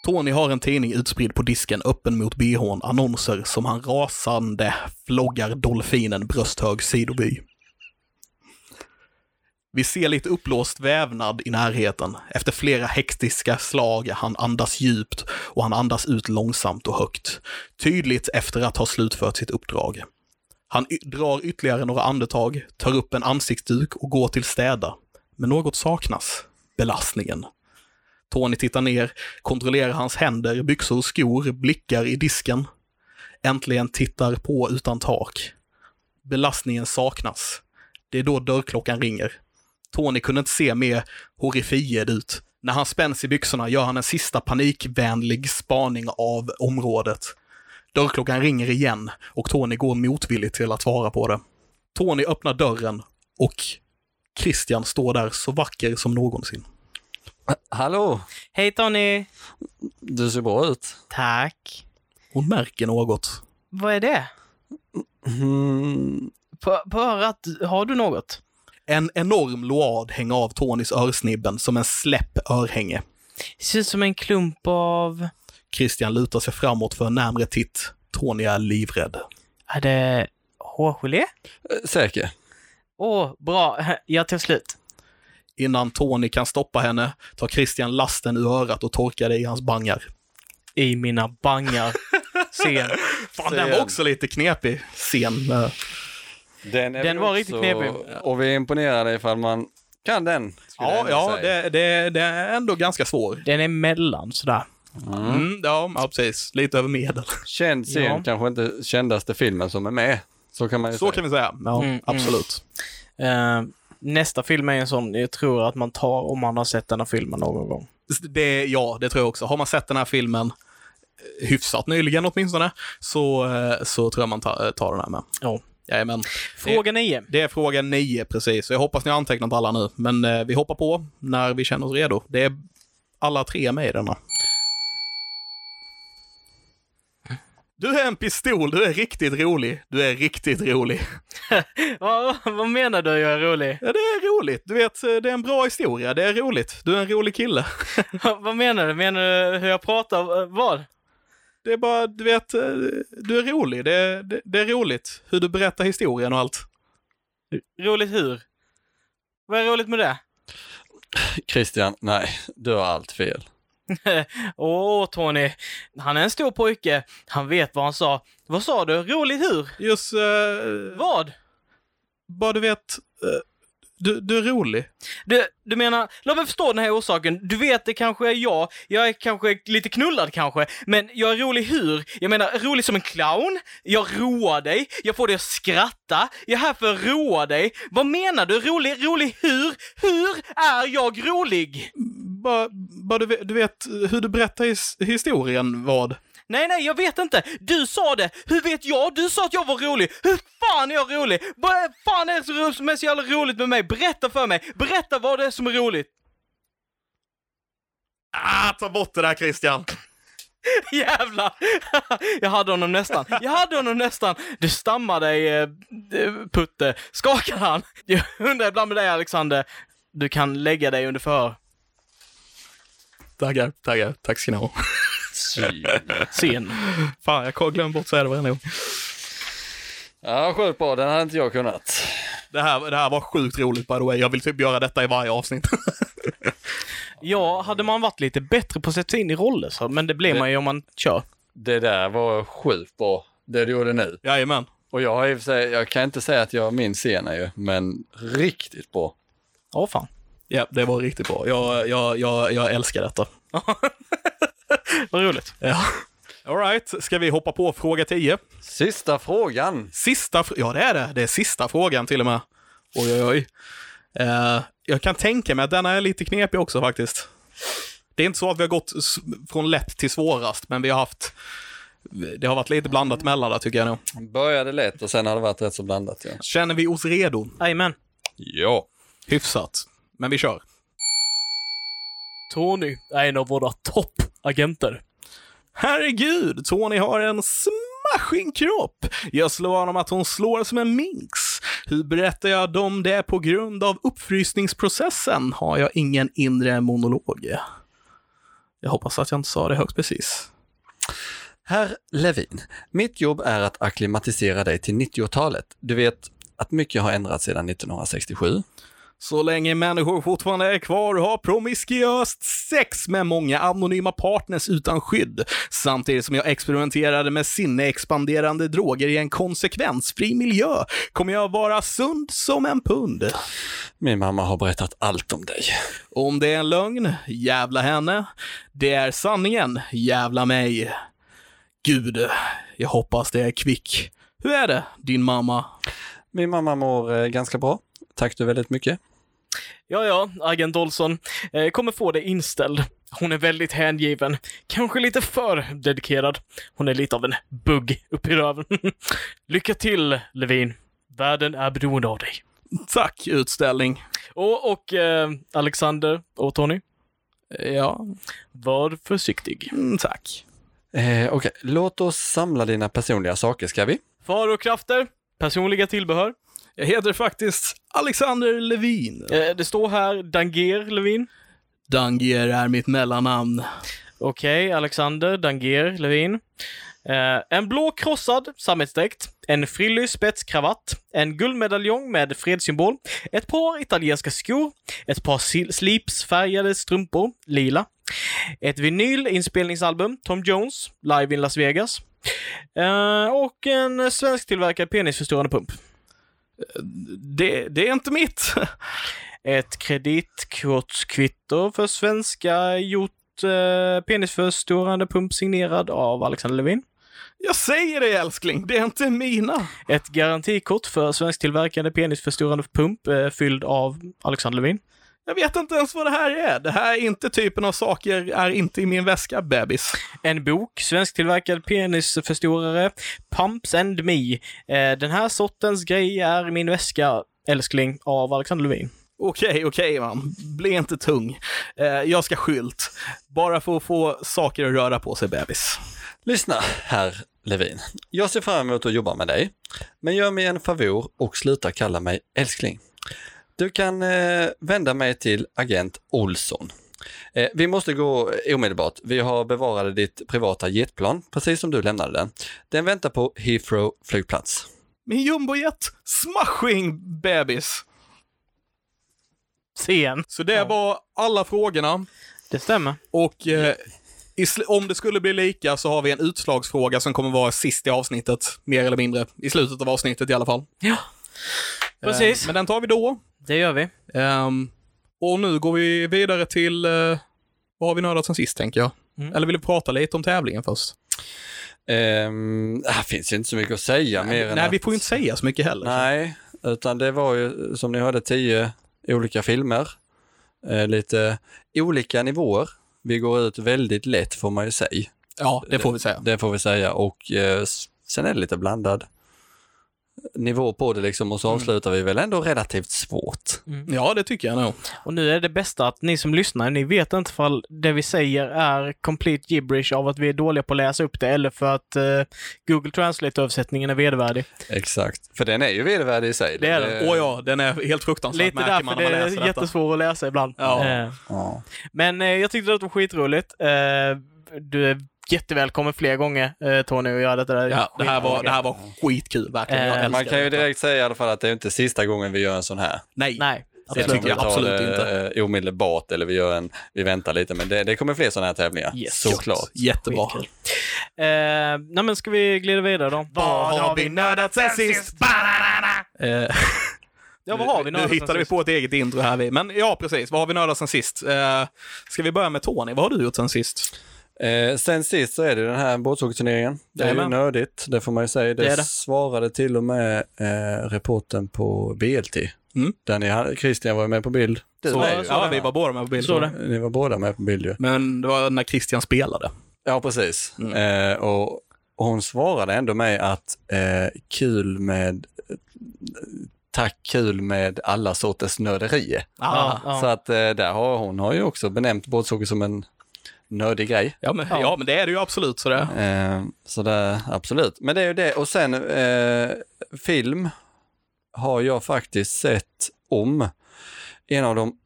Tony har en tidning utspridd på disken öppen mot bhn, annonser som han rasande floggar dolfinen brösthög sidoby. Vi ser lite uppblåst vävnad i närheten. Efter flera hektiska slag han andas djupt och han andas ut långsamt och högt. Tydligt efter att ha slutfört sitt uppdrag. Han y- drar ytterligare några andetag, tar upp en ansiktsduk och går till städa. Men något saknas. Belastningen. Tony tittar ner, kontrollerar hans händer, byxor och skor, blickar i disken. Äntligen tittar på utan tak. Belastningen saknas. Det är då dörrklockan ringer. Tony kunde inte se mer horrified ut. När han spänns i byxorna gör han en sista panikvänlig spaning av området. Dörrklockan ringer igen och Tony går motvilligt till att svara på det. Tony öppnar dörren och Christian står där så vacker som någonsin.
Hallå,
Hej Tony!
du ser bra ut.
Tack.
Hon märker något.
Vad är det?
Mm,
På, på örat, har du något?
En enorm load hänger av Tonys örsnibben som en släpp örhänge.
Det ser ut som en klump av...
Christian lutar sig framåt för en närmre titt. Tony är livrädd.
Är det hårgelé?
eh, säker.
Åh, bra. Jag tar slut.
Innan Tony kan stoppa henne tar Christian lasten ur örat och torkar det i hans bangar.
I mina bangar. <laughs> Sen.
Fan, den var också lite knepig. Sen. eh,
Den,
Den var riktigt knepig.
Och vi är imponerade ifall man kan den. skulle jag
Ja,
ändå
ja
säga.
det, det, det är ändå ganska svår.
Den är mellan sådär.
Mm, ja, ja, precis. Lite över medel.
Känd scen,
Ja.
kanske inte kändaste filmen som är med. Så kan man ju
Så
säga.
kan vi säga. Ja,
Mm, mm.
absolut.
Eh, nästa film är en sån jag tror att man tar om man har sett den här filmen någon gång.
Det, ja, det tror jag också. Har man sett den här filmen eh, hyfsat nyligen åtminstone, så, eh, så tror jag man ta, eh, tar den här med.
Ja.
Jajamän.
Fråga nio.
Det är fråga nio precis. Jag hoppas ni har antecknat alla nu, men eh, vi hoppar på när vi känner oss redo. Det är alla tre med i denna. Du är en pistol, du är riktigt rolig. Du är riktigt rolig.
Ja, vad menar du jag är rolig?
Ja, det är roligt. Du vet, eh, det är en bra historia. Det är roligt. Du är en rolig kille.
vad menar du? Menar du hur jag pratar? Eh, Vad?
Det är bara, du vet, eh, du är rolig. Det är, det, det är roligt hur du berättar historien och allt.
Roligt hur? Vad är roligt med det?
Christian, nej, du har allt fel.
Åh, Tony. Han är en stor pojke. Han vet vad han sa. Vad sa du? Roligt hur?
Just, eh,
Vad?
bara du vet, eh, du, du är rolig.
Du, du menar, låt mig förstå den här orsaken. Du vet, det kanske är jag. Jag är kanske lite knullad kanske. Men jag är rolig hur? Jag menar, rolig som en clown. Jag roar dig. Jag får dig att skratta. Jag är här för att roa dig. Vad menar du? Rolig, rolig hur? Hur är jag rolig?
Bara, bara du, vet, du vet hur du berättar his, historien, vad?
Nej, nej, jag vet inte. Du sa det. Hur vet jag? Du sa att jag var rolig. Hur fan är jag rolig? Vad fan är det som- som är så jävla roligt med mig? Berätta för mig. Berätta vad det är som är roligt. <laughs>
Ah, ta bort det där Christian!
Jävlar! <laughs> Jag hade honom nästan. Jag hade honom nästan. Du stammar dig, eh, Putte. Skakar han? Jag undrar ibland med dig, Alexander. Du kan lägga dig under förhör.
Tackar, tackar. Tack ska ni ha.
Sen.
Fan, jag glömde bort säga det varenda gång.
Ja, sjukt bra. Den hade inte jag kunnat.
Det här, det här var sjukt roligt by the way. Jag vill typ göra detta i varje avsnitt.
Ja, hade man varit lite bättre på att sätta sig in i roller så, men det blir man ju om man kör.
Det där var sjukt bra, det du gjorde nu.
<laughs> Jajamän.
Och jag har i och för sig, jag kan inte säga att jag minns scenen ju, men riktigt bra.
Ja, fan.
Ja, det var riktigt bra. Jag, jag, jag, jag älskar detta.
Vad roligt.
Ja. Alright, ska vi hoppa på fråga 10?
Sista frågan.
Sista fr- Ja, det är det. Det är sista frågan till och med. Oj, oj, oj. Eh, jag kan tänka mig att denna är lite knepig också faktiskt. Det är inte så att vi har gått s- från lätt till svårast, men vi har haft... Det har varit lite blandat mellan där, tycker jag nog.
Började lätt och sen har det varit rätt så blandat. Ja.
Känner vi oss redo?
Jajamän.
ja.
Hyfsat. Men vi kör.
Tony är en av våra toppagenter.
Herregud, Tony har en smashing kropp. Jag slår vad om att hon slår som en minx. Hur berättar jag dem det på grund av uppfrysningsprocessen? Har jag ingen inre monolog? Jag hoppas att jag inte sa det högt precis.
Herr Levin, mitt jobb är att akklimatisera dig till 90-talet. Du vet att mycket har ändrats sedan 1967.
Så länge människor fortfarande är kvar och har promiskuöst sex med många anonyma partners utan skydd, samtidigt som jag experimenterade med sinneexpanderande droger i en konsekvensfri miljö, kommer jag vara sund som en pund.
Min mamma har berättat allt om dig.
Om det är en lögn, jävla henne. Det är sanningen, jävla mig. Gud, jag hoppas det är kvick. Hur är det, din mamma?
Min mamma mår eh, ganska bra. Tack du väldigt mycket.
Ja, ja, agent Olsson. Eh, kommer få det inställd. Hon är väldigt hängiven. Kanske lite för dedikerad. Hon är lite av en bugg upp i röven. <laughs> Lycka till, Levin. Världen är beroende av dig.
Tack, utställning.
Och, och eh, Alexander och Tony,
Ja,
var försiktig.
mm, tack.
Eh, Okej, låt oss samla dina personliga saker ska vi?
Farokrafter, personliga tillbehör.
Jag heter faktiskt Alexander Levin.
Eh, det står här Danger Levin.
Dangier är mitt mellannamn.
Okej, Alexander Danger Levin. Eh, en blå krossad sammetsdräkt, en frilly spetskravatt, en guldmedaljong med fredssymbol, ett par italienska skor, ett par sil- slipsfärgade strumpor, lila, ett vinylinspelningsalbum, Tom Jones, live in Las Vegas, eh, och en svensktillverkad penisförstorande pump.
Det, det är inte mitt.
ett kreditkortskvitto för svenska gjort eh, penisförstorande pump signerad av Alexander Levin.
Jag säger det älskling, det är inte mina.
Ett garantikort för svensktillverkade penisförstorande pump eh, fylld av Alexander Levin.
Jag vet inte ens vad det här är. Det här är inte typen av saker, är inte i min väska, bebis.
En bok, svensktillverkad penisförstorare, Pumps and Me. Eh, den här sortens grej är i min väska, älskling, av Alexander Levin.
Okej, okej man. Bli inte tung. Eh, jag ska skylt. Bara för att få saker att röra på sig, bebis.
Lyssna, herr Levin. Jag ser fram emot att jobba med dig, men gör mig en favor och sluta kalla mig älskling. Du kan eh, vända mig till agent Olsson. Eh, vi måste gå omedelbart. Vi har bevarade ditt privata jetplan, precis som du lämnade den. Den väntar på Heathrow flygplats.
Min jumbojet, smashing bebis.
Sen.
Så det
Ja.
var alla frågorna.
Det stämmer.
Och eh, i sl- om det skulle bli lika så har vi en utslagsfråga som kommer vara sist i avsnittet, mer eller mindre. I slutet av avsnittet i alla fall.
Ja. Precis.
Eh, men den tar vi då.
Det gör vi.
Ehm, och nu går vi vidare till eh, vad har vi nördat sen sist, tänker jag.
Mm.
Eller vill du prata lite om tävlingen först?
Ehm, här finns ju inte så mycket att säga mer än
Nej,
att...
vi får ju inte säga så mycket heller.
Nej, utan det var ju som ni hörde tio olika filmer. Eh, lite olika nivåer. Vi går ut väldigt lätt får man ju säga.
Ja, det får vi säga.
Det får vi säga och eh, s- sen är det lite blandad nivå på det liksom och så avslutar vi väl ändå relativt svårt.
Ja, det tycker jag nog.
Och nu är det bästa att ni som lyssnar, ni vet inte ifall det vi säger är complete gibberish av att vi är dåliga på att läsa upp det eller för att eh, Google Translate-översättningen är vedervärdig.
Exakt, för den är ju vedervärdig i sig.
Det är den.
Åh ja, den är helt fruktansvärt
Lite
märker
därför
man
det
när man
är
läser detta.
jättesvårt att läsa ibland.
Ja.
Eh,
Ja.
men eh, jag tyckte det var skitroligt. Eh, du är jättevälkommen fler gånger, eh, Tony, att göra detta. där.
Ja, det här var, det här var skitkul, verkligen. Jag
Eh,
älskar
Man kan ju
detta.
direkt säga i alla fall att det är inte sista gången vi gör en sån här. Liksom,
Nej.
Nej,
Det
absolut.
tycker jag
Vi tar
absolut
det,
inte.
eh, Omedelbart eller vi gör en, vi väntar lite men det, det kommer fler sådana här tävlingar.
Yes.
Såklart.
Jättebra.
Skitkul. Eh, nej, men ska vi glida vidare då?
nördat sen sist? Eh,
Ja, vad har
nu
vi nördat sen
hittade vi
sist?
på ett eget intro här. Vi. Men ja, precis. Vad har vi nördat sen sist? Eh, ska vi börja med Tony? Vad har du gjort sen sist?
Eh, sen sist så är det den här båtsåkerturneringen. Det är ju
Jajamän.
nördigt, det får man ju säga. Det,
Det är det.
svarade till och med eh, reporten på BLT.
Mm.
Där ni, hade- Christian var ju med på bild. Du
Så-
var
Nej,
ju-
ja, vi var båda med på bild.
Så det.
Ni var båda med på bild ju.
Men det var när Christian spelade.
Ja, precis. Eh, och, och hon svarade ändå med att eh, kul med eh, Tack kul med alla sorters nörderier.
Ja, ja.
Så att eh, där har hon har ju också benämnt båtsåker som en nördig grej.
Ja, men, ja. men det är det ju absolut. Så det.
Eh, så det, absolut. Men det är ju det. Och sen eh, film har jag faktiskt sett om. En av de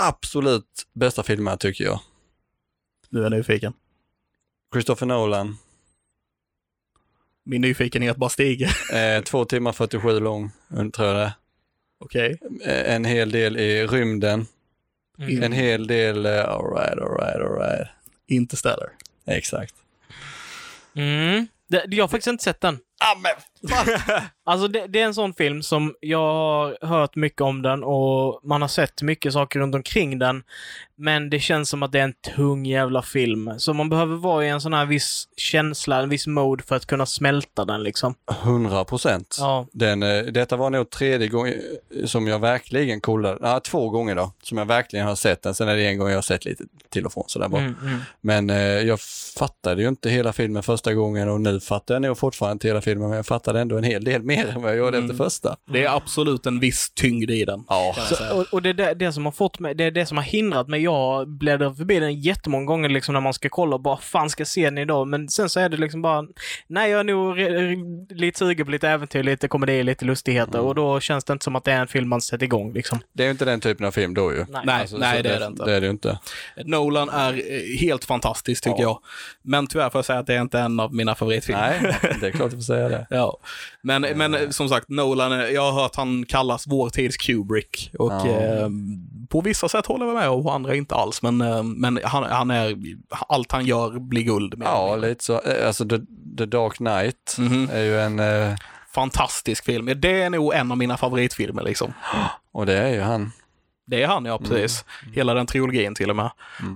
absolut bästa filmerna tycker jag.
Nu är jag nyfiken.
Christopher Nolan.
Min nyfikenhet bara stiger. <laughs>
Eh, två timmar 47 lång, un- tror jag det är.
Okej.
Eh, En hel del i rymden.
Mm.
En hel del, eh, alright, alright, alright.
Inte ställer.
Exakt.
Mm. Det, jag har faktiskt inte sett den.
Amen.
Alltså det, det är en sån film som jag har hört mycket om den och man har sett mycket saker runt omkring den. Men det känns som att det är en tung jävla film. Så man behöver vara i en sån här viss känsla, en viss mode för att kunna smälta den liksom.
100 procent.
Ja.
Den, eh, detta var nog tredje gången eh, som jag verkligen kollade, nej, två gånger då, som jag verkligen har sett den. Sen är det en gång jag har sett lite till och från sådär bara.
Mm, mm.
Men eh, jag fattade ju inte hela filmen första gången och nu fattar jag nog fortfarande inte hela filmen, men jag fattade ändå en hel del <laughs> mer än vad jag gjorde
Mm.
efter första.
Det är absolut en viss tyngd i den.
Ja.
kan jag säga.
Så, och, och det är det, det som har fått mig, det är det som har hindrat mig. Jag bläddrar förbi den jättemånga gånger liksom när man ska kolla och bara fan ska jag se den idag? Men sen så är det liksom bara, nej jag är nog re- re- lite sugen på lite äventyr, lite komedi, lite lustigheter och då känns det inte som att det är en film man sätter igång liksom.
Det är ju inte den typen av film då ju.
Nej,
Alltså,
nej
så
det är det inte.
Det är det ju inte.
Nolan är eh, helt fantastisk tycker
Ja.
jag. Men tyvärr får jag säga att det är inte en av mina favoritfilmer.
Nej, det är klart du får
<laughs>
säga det.
Ja. Men, men eh, som sagt, Nolan, eh, jag har hört han kallas vår tids Kubrick. Och
Ja.
eh, på vissa sätt håller jag med och på andra inte alls. Men, eh, men han, han är, allt han gör blir guld. mer eller
Ja,
mindre.
lite så. Eh, Alltså The, The Dark Knight
Mhm.
är ju en, eh,
Fantastisk film. Det är nog en av mina favoritfilmer liksom.
och det är ju han.
Det är han, ja precis. Hela den trilogin till och med.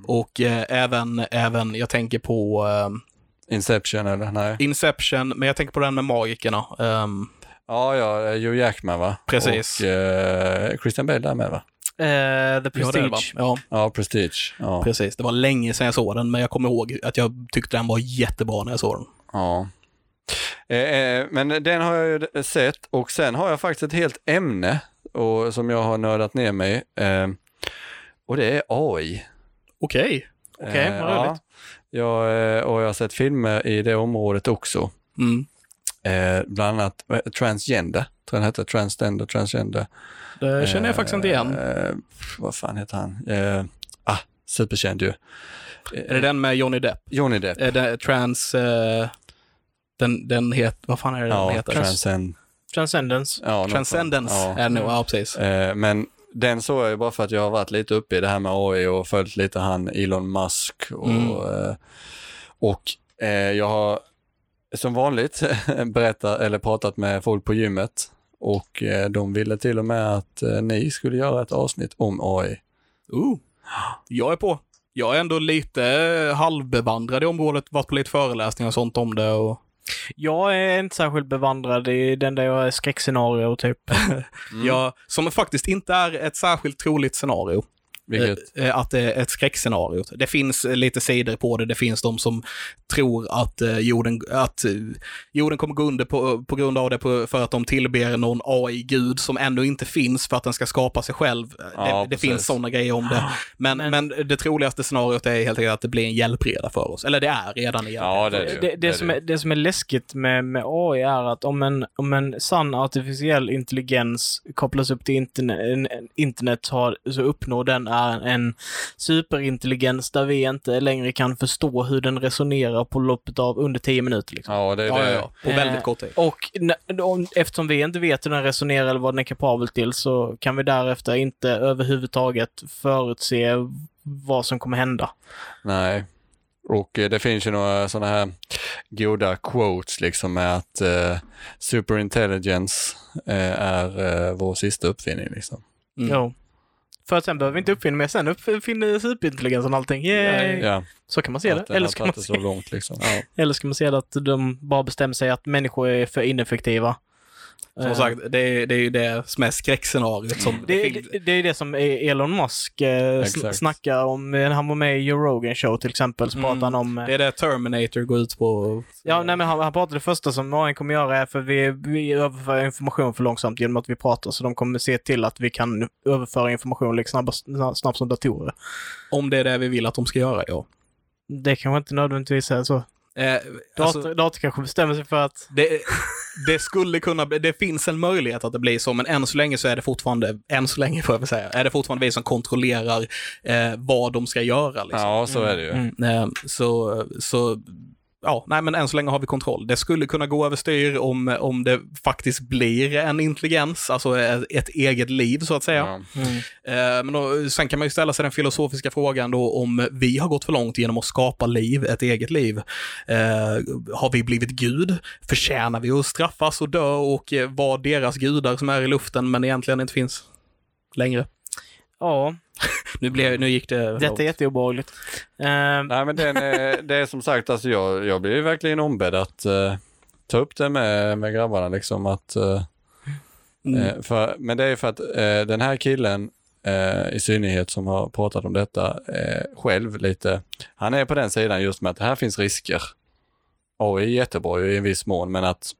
Och eh, även, även, jag tänker på eh,
Inception eller? Nej.
Inception, men jag tänker på den med magikerna. Ehm,
Ja, ja, eh, Hugh Jackman va?
Precis.
Och eh, Christian Bale där med va?
Eh, The
ja, det är det, va?
Prestige.
Ja,
Ja, Prestige. Ja.
precis. Det var länge sedan jag såg den, men jag kommer ihåg att jag tyckte den var jättebra när jag såg den.
ja. Eh, eh, men den har jag ju sett och sen har jag faktiskt ett helt ämne och, som jag har nördat ner mig eh, och det är AI.
Okej.
Okej, vad roligt.
Ja, jag, eh, och jag har sett filmer i det området också.
Mm.
Eh, bland annat eh, Transgender, tror jag den hette, Transgender, Transgender.
Det känner jag faktiskt inte igen.
Eh, eh, vad fan heter han? Eh, ah, superkänd ju.
Är det den med Johnny Depp?
Johnny Depp.
Är det trans... eh, den, den heter... Vad fan är det
Ja,
den heter?
Transcend.
Transcendence.
Ja, någon
Transcendence
sån.
är det nog, ja precis.
Ja. Eh, men den såg jag ju bara för att jag har varit lite uppe i det här med AI och följt lite han Elon Musk och,
Mm.
eh, och eh, jag har som vanligt <laughs> berättat eller pratat med folk på gymmet och eh, de ville till och med att eh, ni skulle göra ett avsnitt om AI.
Ooh. Jag är på. Jag är ändå lite eh, halvbevandrad i området, varit på lite föreläsningar och sånt om det och
Jag är inte särskilt bevandrad i den där jag är skräckscenario typ.
jag, som faktiskt inte är ett särskilt troligt scenario.
Vilket,
Eh, eh, Att det är ett skräckscenario. Det finns eh, lite sidor på det. Det finns de som tror att eh, jorden, att eh, jorden kommer gå under på, på grund av det på, för att de tillber någon AI-gud som ännu inte finns för att den ska skapa sig själv. Eh,
Ja,
det, det
precis.
finns sådana grejer om
<gasps>
det. Men, men,
Men-
det troligaste scenariot är helt enkelt att det blir en hjälpreda för oss. Eller det är redan en hjälpreda.
ja, det är ju.
Det, det,
är
som
ju.
är, det som är läskigt med, med AI är att om en, om en sann artificiell intelligens kopplas upp till interne, en, en internet så, har, så uppnår den är en superintelligens där vi inte längre kan förstå hur den resonerar på loppet av under 10 minuter. Liksom.
Ja, det är
Ja, ja,
det.
ja. På väldigt kort tid.
Eh, Och n- om, eftersom vi inte vet hur den resonerar eller vad den är kapabel till så kan vi därefter inte överhuvudtaget förutse vad som kommer hända.
Nej. Och eh, det finns ju några sådana här goda quotes liksom med att eh, superintelligence eh, är eh, vår sista uppfinning liksom.
Mm.
Jo. För att sen behöver vi inte uppfinna mer, sen uppfinner superintelligensen allting. Yay!
Ja,
Så kan man se
att
det.
den
Eller
har
ska man
tagit det så
se,
långt liksom. Ja.
eller ska man se det att de bara bestämmer sig att människor är för ineffektiva. Eh,
Som sagt, det, är- det är ju det som är skräckscenariot som
Det,
finns.
det, det är det som E- Elon Musk eh, sn-
Exakt.
snackar om. när Han var med i Joe Rogan show till exempel, så
Mm.
pratade han om... eh,
Det är det Terminator går ut på.
Ja, nej, men han, han pratade det första som AI kommer göra är för vi, vi överför information för långsamt genom att vi pratar, så de kommer se till att vi kan överföra information lika snabbast- snabbt, snabbt som datorer.
Om det är det vi vill att de ska göra, ja.
Det kanske inte nödvändigtvis är så.
Eh,
Dator,
alltså,
dator kanske bestämmer sig för att
det, Det skulle kunna bli, det finns en möjlighet att det blir så, men än så länge så är det fortfarande, än så länge får jag väl säga, är det fortfarande vi som kontrollerar eh, vad de ska göra. Liksom.
Ja, så är det ju.
Eh, så, så, ja, nej men än så länge har vi kontroll. Det skulle kunna gå överstyr om, om det faktiskt blir en intelligens, alltså ett, ett eget liv så att säga.
Ja.
Eh, Men då, sen kan man ju ställa sig den filosofiska frågan då om vi har gått för långt genom att skapa liv, ett eget liv. Eh, har vi blivit gud? Förtjänar vi att straffas och dö och eh, vara deras gudar som är i luften men egentligen inte finns längre?
Ja,
Nu, blev, nu gick det...
detta är jätteobehagligt. Ehm,
Nej, men den är, det är som sagt, alltså jag, jag blir verkligen ombedd att eh, ta upp det med, med grabbarna. Liksom, att, eh,
Mm.
eh, för, men det är för att eh, den här killen eh, i synnerhet som har pratat om detta eh, själv lite, han är på den sidan just med att här finns risker. AI är jättebra ju i en viss mån, men att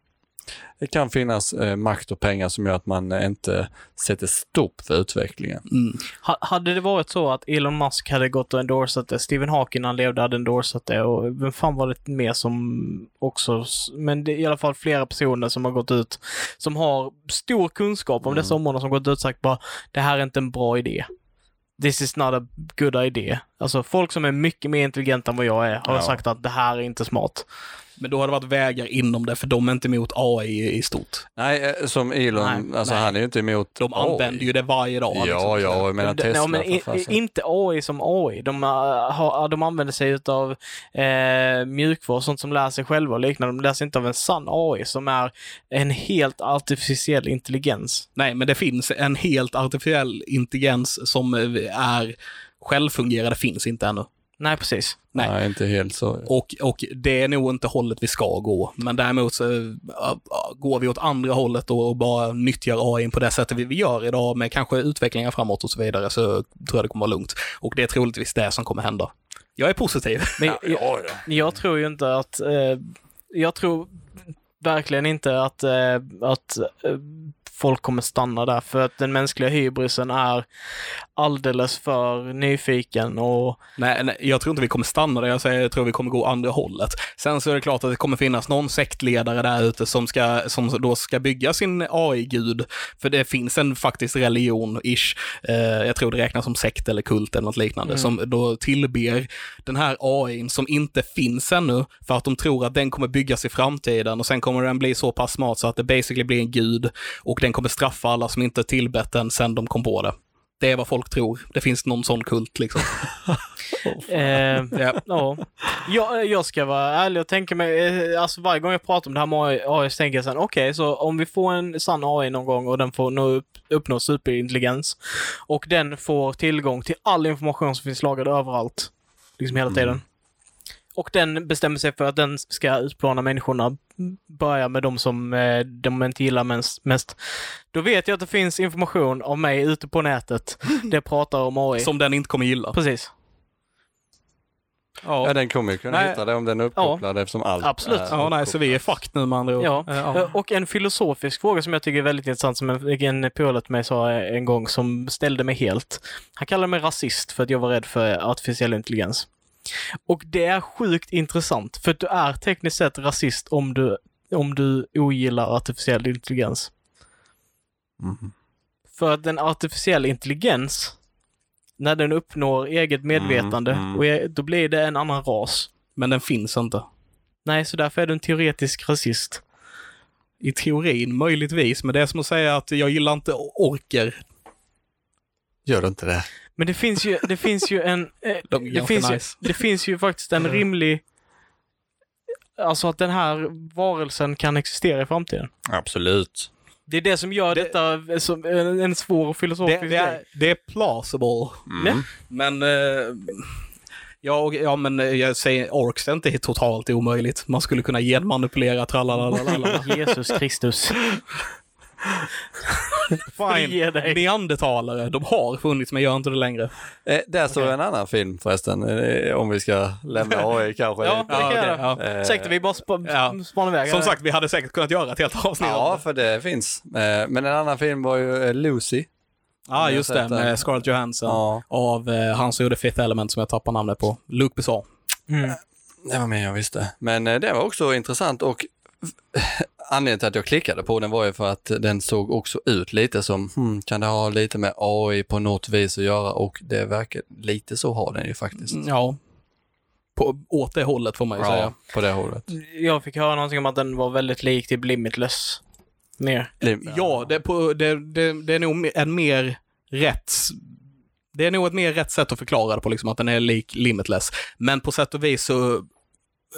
det kan finnas eh, makt och pengar som gör att man eh, inte sätter stopp för utvecklingen.
Mm.
ha- hade det varit så att Elon Musk hade gått och endorsat det, Stephen Hawking när han levde hade endorsat det och vem fan var det mer som också, s- men det är i alla fall flera personer som har gått ut, som har stor kunskap om dessa
Mm.
områden som gått ut och sagt bara det här är inte en bra idé. This is not a good idea. Alltså folk som är mycket mer intelligenta än vad jag är har
Ja.
sagt att det här är inte smart.
Men då har det varit vägar inom det, för de är inte emot AI i stort.
Nej, eh, som Elon,
Nej,
alltså
nej.
han är ju inte emot
De
AI.
använder ju det varje dag.
Ja,
liksom.
ja, jag menar
D-
Tesla
nej, men i-
för fasen.
inte AI som AI. De, äh, har, de använder sig av eh, mjukvara och sånt som lär sig själva och liknande. De lär sig inte av en sann AI som är en helt artificiell intelligens.
Nej, men det finns en helt artificiell intelligens som eh, är självfungerande, finns inte ännu.
Nej, precis.
Nej.
Nej. inte helt så.
Och, och det är nog inte hållet vi ska gå. Men däremot så äh, äh, går vi åt andra hållet och, och bara nyttjar AI på det sättet vi, vi gör idag med kanske utvecklingar framåt och så vidare så tror jag det kommer vara lugnt. Och det är troligtvis det som kommer hända. Jag är positiv.
Men jag, jag tror ju inte att... Eh, jag tror verkligen inte att, eh, att eh, folk kommer stanna där för att den mänskliga hybrisen är alldeles för nyfiken och
Nej, nej, jag tror inte vi kommer stanna där. Jag, säger, jag tror vi kommer gå andra hållet. Sen så är det klart att det kommer finnas någon sektledare där ute som, ska, som då ska bygga sin AI-gud. För det finns en faktiskt religion-ish, eh, jag tror det räknas som sekt eller kult eller något liknande, som då tillber den här AIn som inte finns ännu för att de tror att den kommer byggas i framtiden och sen kommer den bli så pass smart så att det basically blir en gud och den kommer straffa alla som inte tillbett den sen de kom på det. Det är vad folk tror. Det finns någon sån kult liksom.
eh,
<laughs>
Ja.
Ja. Jag, eh, jag ska vara ärlig och tänka mig, eh, alltså varje gång jag pratar om det här med AI, AI så tänker jag sen, okej, så om vi får en sann AI någon gång och den får nå upp, uppnå superintelligens och den får tillgång till all information som finns lagrad överallt, liksom hela tiden. Och den bestämmer sig för att den ska utplåna människorna, börja med de som eh, de inte gillar mest- mest. Då vet jag att det finns information om mig ute på nätet, det pratar om AI.
Som den inte kommer gilla.
Precis.
Ja, den kommer ju kunna
Nej.
hitta det om den är uppkopplad eftersom allt
Absolut.
är
Ja, nej, så vi är fucked nu med andra ord.
Ja.
Eh,
Eh, Och en filosofisk fråga som jag tycker är väldigt intressant, som en, en polare till mig sa en gång, som ställde mig helt. Han kallade mig rasist för att jag var rädd för artificiell intelligens. Och det är sjukt intressant, för att du är tekniskt sett rasist om du, om du ogillar artificiell intelligens.
Mhm.
För att en artificiell intelligens, när den uppnår eget medvetande,
Mm, mm.
Och är, då blir det en annan ras.
Men den finns inte.
Nej, så därför är du en teoretisk rasist.
I teorin möjligtvis, men det är som att säga att jag gillar inte orker.
Gör du inte det?
Men det finns ju, det finns ju en...
<laughs>
eh,
De är
det,
ganska
finns ju,
nice.
det finns ju faktiskt
Mm.
en rimlig... Alltså att den här varelsen kan existera i framtiden.
Absolut.
Det är det som gör detta som en, en svår
Det,
filosofisk
det,
grej.
är, det är plausible.
Nej.
Men, eh, ja, och- ja, men eh, jag säger orks är inte totalt omöjligt. Man skulle kunna genmanipulera <laughs> tralalalalala.
Jesus
<laughs>
Kristus. Frige dig.
Neandertalare, de har funnits men gör inte det längre.
Eh, där står en annan film förresten, eh, om vi ska lämna AI kanske.
Ja, det kan
okej,
jag göra.
ja.
Eh,
Ursäkta, vi bara sp-
Ja.
spanar iväg.
Som sagt, vi hade säkert kunnat göra ett helt avsnitt.
Ja, för det finns. Eh, men en annan film var ju eh, Lucy.
ja just det. Med Scarlett Johansson.
Ja.
Av eh, han som gjorde Fifth Element som jag tappar namnet på. Luke Besson.
Mm.
Det var mer jag visste. Men eh, det var också intressant och <laughs> anledningen till att jag klickade på den var ju för att den såg också ut lite som, hmm, kan det ha lite med AI på något vis att göra? Och det verkar lite så har den ju faktiskt.
Ja. På, åt det hållet får man ju säga.
Ja, på det hållet.
Jag fick höra någonting om att den var väldigt lik typ Limitless. Mer.
Ja, det, är på, det, det, det är nog en mer rätt... Det är nog ett mer rätt sätt att förklara det på, liksom, att den är lik Limitless. Men på sätt och vis så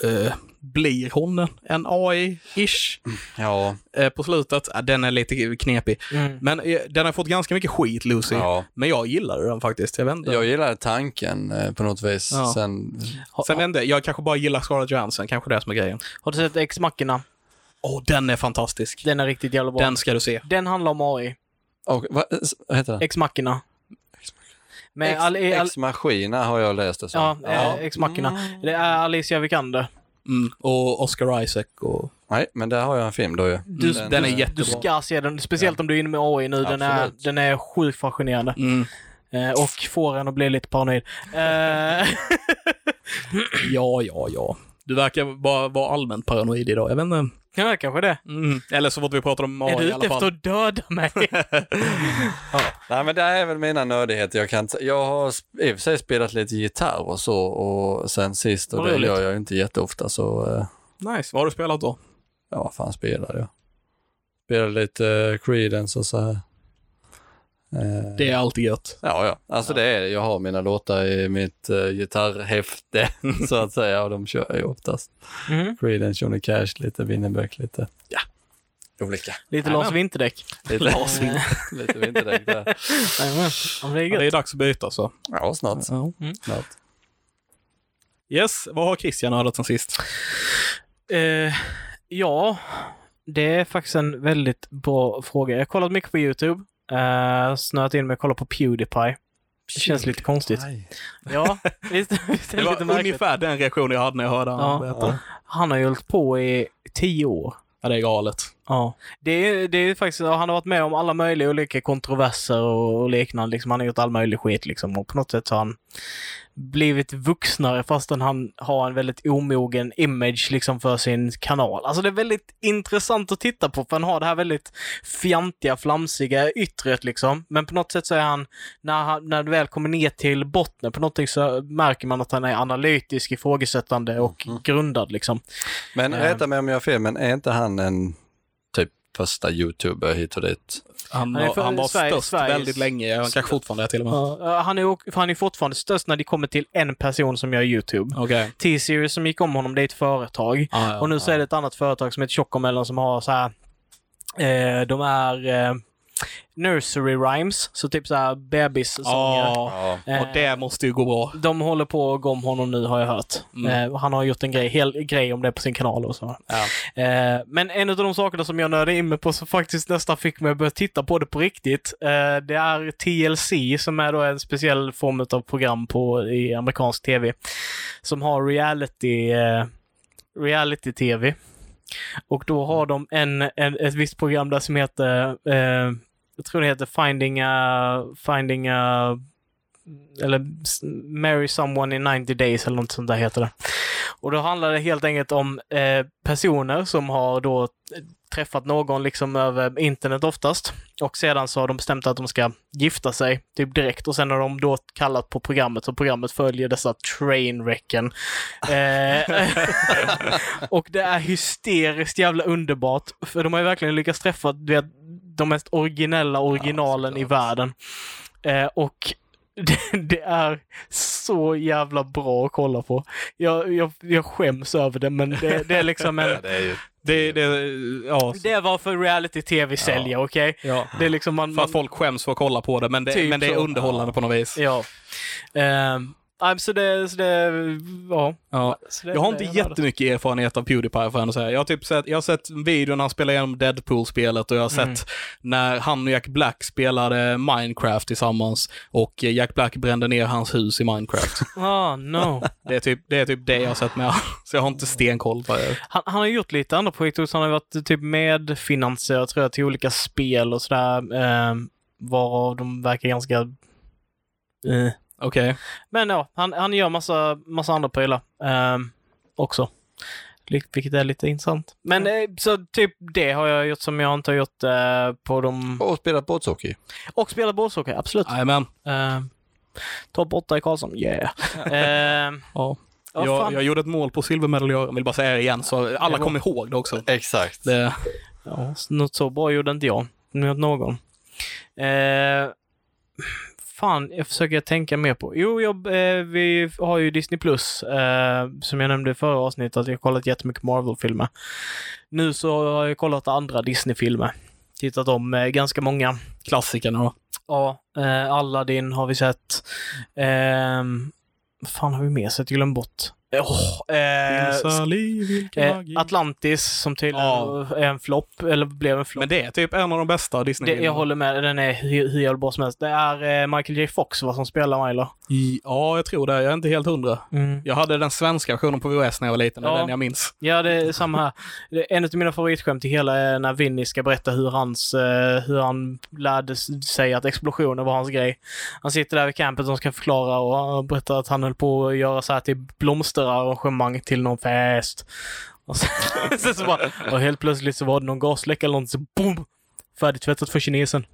eh, blir hon en AI-ish
Ja,
eh, på slutet. Ja, den är lite knepig.
Mm.
Men eh, den har fått ganska mycket skit, Lucy.
ja.
Men jag gillar den faktiskt. Jag vet inte.
Jag gillade tanken eh, på något vis.
Ja.
Sen,
Sen vet jag inte, jag kanske bara gillar Scarlett Johansson, kanske det är som är grejen.
Har du sett X-Mackorna?
Åh, den är fantastisk.
Den är riktigt jävla bra. Den,
Den ska du se.
handlar om AI.
och, vad eh, vad heter det?
X-Mackorna. Med
Ex-
Al- Al-
Ex-Machina har jag läst det som.
ja, eh, Ex-Mackorna. Det är Alicia Vikander.
Mm. Och Oscar Isaac och...
Nej, men där har jag en film då ju.
Du-
Den, är jättebra.
Du ska se den, speciellt om du är inne med AI nu. Den är,
Absolut.
den är sjukt fascinerande.
Mm.
Eh, och får en att bli lite paranoid. Eh, <laughs>
Ja, ja, ja. Du verkar bara vara allmänt paranoid idag. Jag vet inte.
ja, kanske det.
Mm. Eller så fort vi pratar om AI
är du
i
ute
alla
efter
fall. Mm.
att döda
<laughs>
mig?
Nej, men det är väl mina nördigheter. Jag, kan, inte- jag har sp- i och för sig spelat lite gitarr och så och sen sist och
Vad
det
roligt.
gör jag ju inte jätteofta så eh,
Nice. Vad har du spelat då?
ja, vad fan spelade jag? Spelade lite eh, Creedence och så här. Eh,
Det är alltid gött.
Ja, ja. Alltså det är det. Jag har mina låtar i mitt eh, gitarrhäfte <laughs> så att säga och de kör jag ju oftast.
Mhm.
Creedence, Johnny Cash lite, Winnerbäck lite. Ja, olika.
Lite
Jajamän.
Lars Vinterdäck. Eh,
Lite,
Lars
<laughs>
lite vinterdäck <laughs> där.
Jajamän. Ja, men det är
Ja,
gött.
det är dags att byta så.
Ja, snart.
Mm.
snart.
Yes, vad har Christian hört sen
<laughs>
sist?
Eh, ja, det är faktiskt en väldigt bra fråga. Jag har kollat mycket på YouTube. Eh, snöat in mig att kolla på Pewdiepie. Det känns lite konstigt.
Aj.
<laughs> Ja, visst, visst
Det
är det
var
lite märkligt.
ungefär den reaktionen jag hade när jag hörde
Ja.
honom berätta.
Han har ju hållit på i tio år.
Ja, det är galet.
Ja. Det är, det är faktiskt, ja, han har varit med om alla möjliga olika kontroverser och, och liknande. Liksom, han har gjort all möjlig skit liksom. Och på något sätt så har han blivit vuxnare fastän han har en väldigt omogen image liksom för sin kanal. Alltså det är väldigt intressant att titta på för han har det här väldigt fjantiga, flamsiga yttret liksom. Men på något sätt så är han, när, han, när du väl kommer ner till botten på något sätt så märker man att han är analytisk, ifrågasättande och grundad liksom.
Men
Ehm.
rätta mig om jag har fel, men är inte han en typ första youtuber hit och dit?
Han,
Han är
var-
för-
han var
Sverige-
störst
Sveriges-
väldigt länge. Han kanske fortfarande är till och med.
Ja, Eh, han, är, ok- för han är fortfarande störst när det kommer till en person som gör YouTube.
Okej.
T-Series som gick om honom, det är ett företag.
Ja, ja,
Och nu
ja.
så är det ett annat företag som heter Tjockomellan som har så här... Eh, de är eh, nursery rhymes, så typ så här bebissånger.
Ja,
Ja.
Eh,
och det måste ju gå bra.
De håller på att gå om honom nu har jag hört.
Mm.
Eh, och han har gjort en grej, hel grej om det på sin kanal och så.
Ja.
Eh, men en av de sakerna som jag nördade in mig på som faktiskt nästan fick mig att börja titta på det på riktigt. Eh, det är TLC som är då en speciell form av program på, i amerikansk tv. Som har reality, eh, reality-tv. Och då har de en, en, ett visst program där som heter, eh, jag tror det heter Finding a, Finding a eller s- Marry Someone in 90 Days eller något sånt där heter det. Och då handlar det helt enkelt om eh, personer som har då eh, träffat någon liksom över internet oftast. Och sedan så har de bestämt att de ska gifta sig typ direkt och sen har de då kallat på programmet och programmet följer dessa trainwrecken. Eh, <laughs> och det är hysteriskt jävla underbart. För de har ju verkligen lyckats träffa du vet, de mest originella originalen i
såklart.
världen. Eh, och <laughs> det, det är så jävla bra att kolla på. Jag, jag, jag skäms över det, men det, det är
<laughs>
liksom en...
Ja, det är ju...
Det, det, ja.
Det är varför reality-tv säljer, okej?
ja.
Det är liksom man...
För
man
att folk skäms för att kolla på det, men det,
Typ
men det är
så.
underhållande på något vis.
ja. Ehm, nej, så det... Så det ja.
Ja.
Så det
Jag har
det
inte
är nördigt.
jättemycket erfarenhet av Pewdiepie för att säga. Jag har, typ sett, jag har sett videon när han spelar igenom Deadpool-spelet och jag har sett
Mm.
när han och Jack Black spelade Minecraft tillsammans och eh, Jack Black brände ner hans hus i Minecraft.
Ah, no.
det, är typ, det är typ det jag har sett med han. <laughs> Så jag har inte stenkoll på det.
Han, han har gjort lite andra projekt också. Han har varit typ medfinansiär tror jag till olika spel och sådär. ehm, varav de verkar ganska... eh.
Okej.
Men ja, han, han gör massa, massa andra prylar ehm, också. li- vilket är lite intressant. Men eh, så typ det har jag gjort som jag inte har gjort eh, på de...
Och spelat båtshockey.
Och spelat båtshockey, absolut.
Jajamän.
Eh, Topp 8 i Karlsson, yeah. eh,
Ja.
Ja,
Jag,
fan.
jag gjorde ett mål på silvermedalj, jag vill bara säga det igen så alla
Det var-
kommer ihåg det också.
Exakt.
Det,
ja, något så bra gjorde inte jag. Mot någon. Eh, fan, jag försöker tänka mer på. Jo, jag, eh, vi har ju Disney Plus. Eh, som jag nämnde i förra avsnittet, att jag har kollat jättemycket Marvel-filmer. Nu så har jag kollat andra Disney-filmer. Tittat om eh, ganska många.
klassikerna då.
Ja, eh, Aladdin har vi sett. Ehm, Vad fan har vi mer sett? Jag glömde bort. Åh, eh,
Finns liv, vilken
eh,
magi.
Atlantis som tydligen
Ja.
är en flopp, eller blev en flopp.
Men det är typ en av de bästa disney
Det, jag håller med, den är hur hur jävla bra som helst. Det är eh, Michael J Fox va, som spelar Milo.
Ja, jag tror det. Jag är inte helt hundra. Jag hade den svenska versionen på VHS när jag var liten. Det är
Ja.
den jag minns.
Ja, det är samma här. Det- En av mina favoritskämt i hela är när Vinny ska berätta hur, hans, eh, hur han lärde s- sig att explosioner var hans grej. Han sitter där vid campet och ska förklara och han berättar att han höll på att göra så här till blomsterarrangemang till någon fest. Och sen, sen så <laughs> bara, och helt plötsligt så var det någon gasläcka eller något, så boom! Färdigtvättat för kinesen.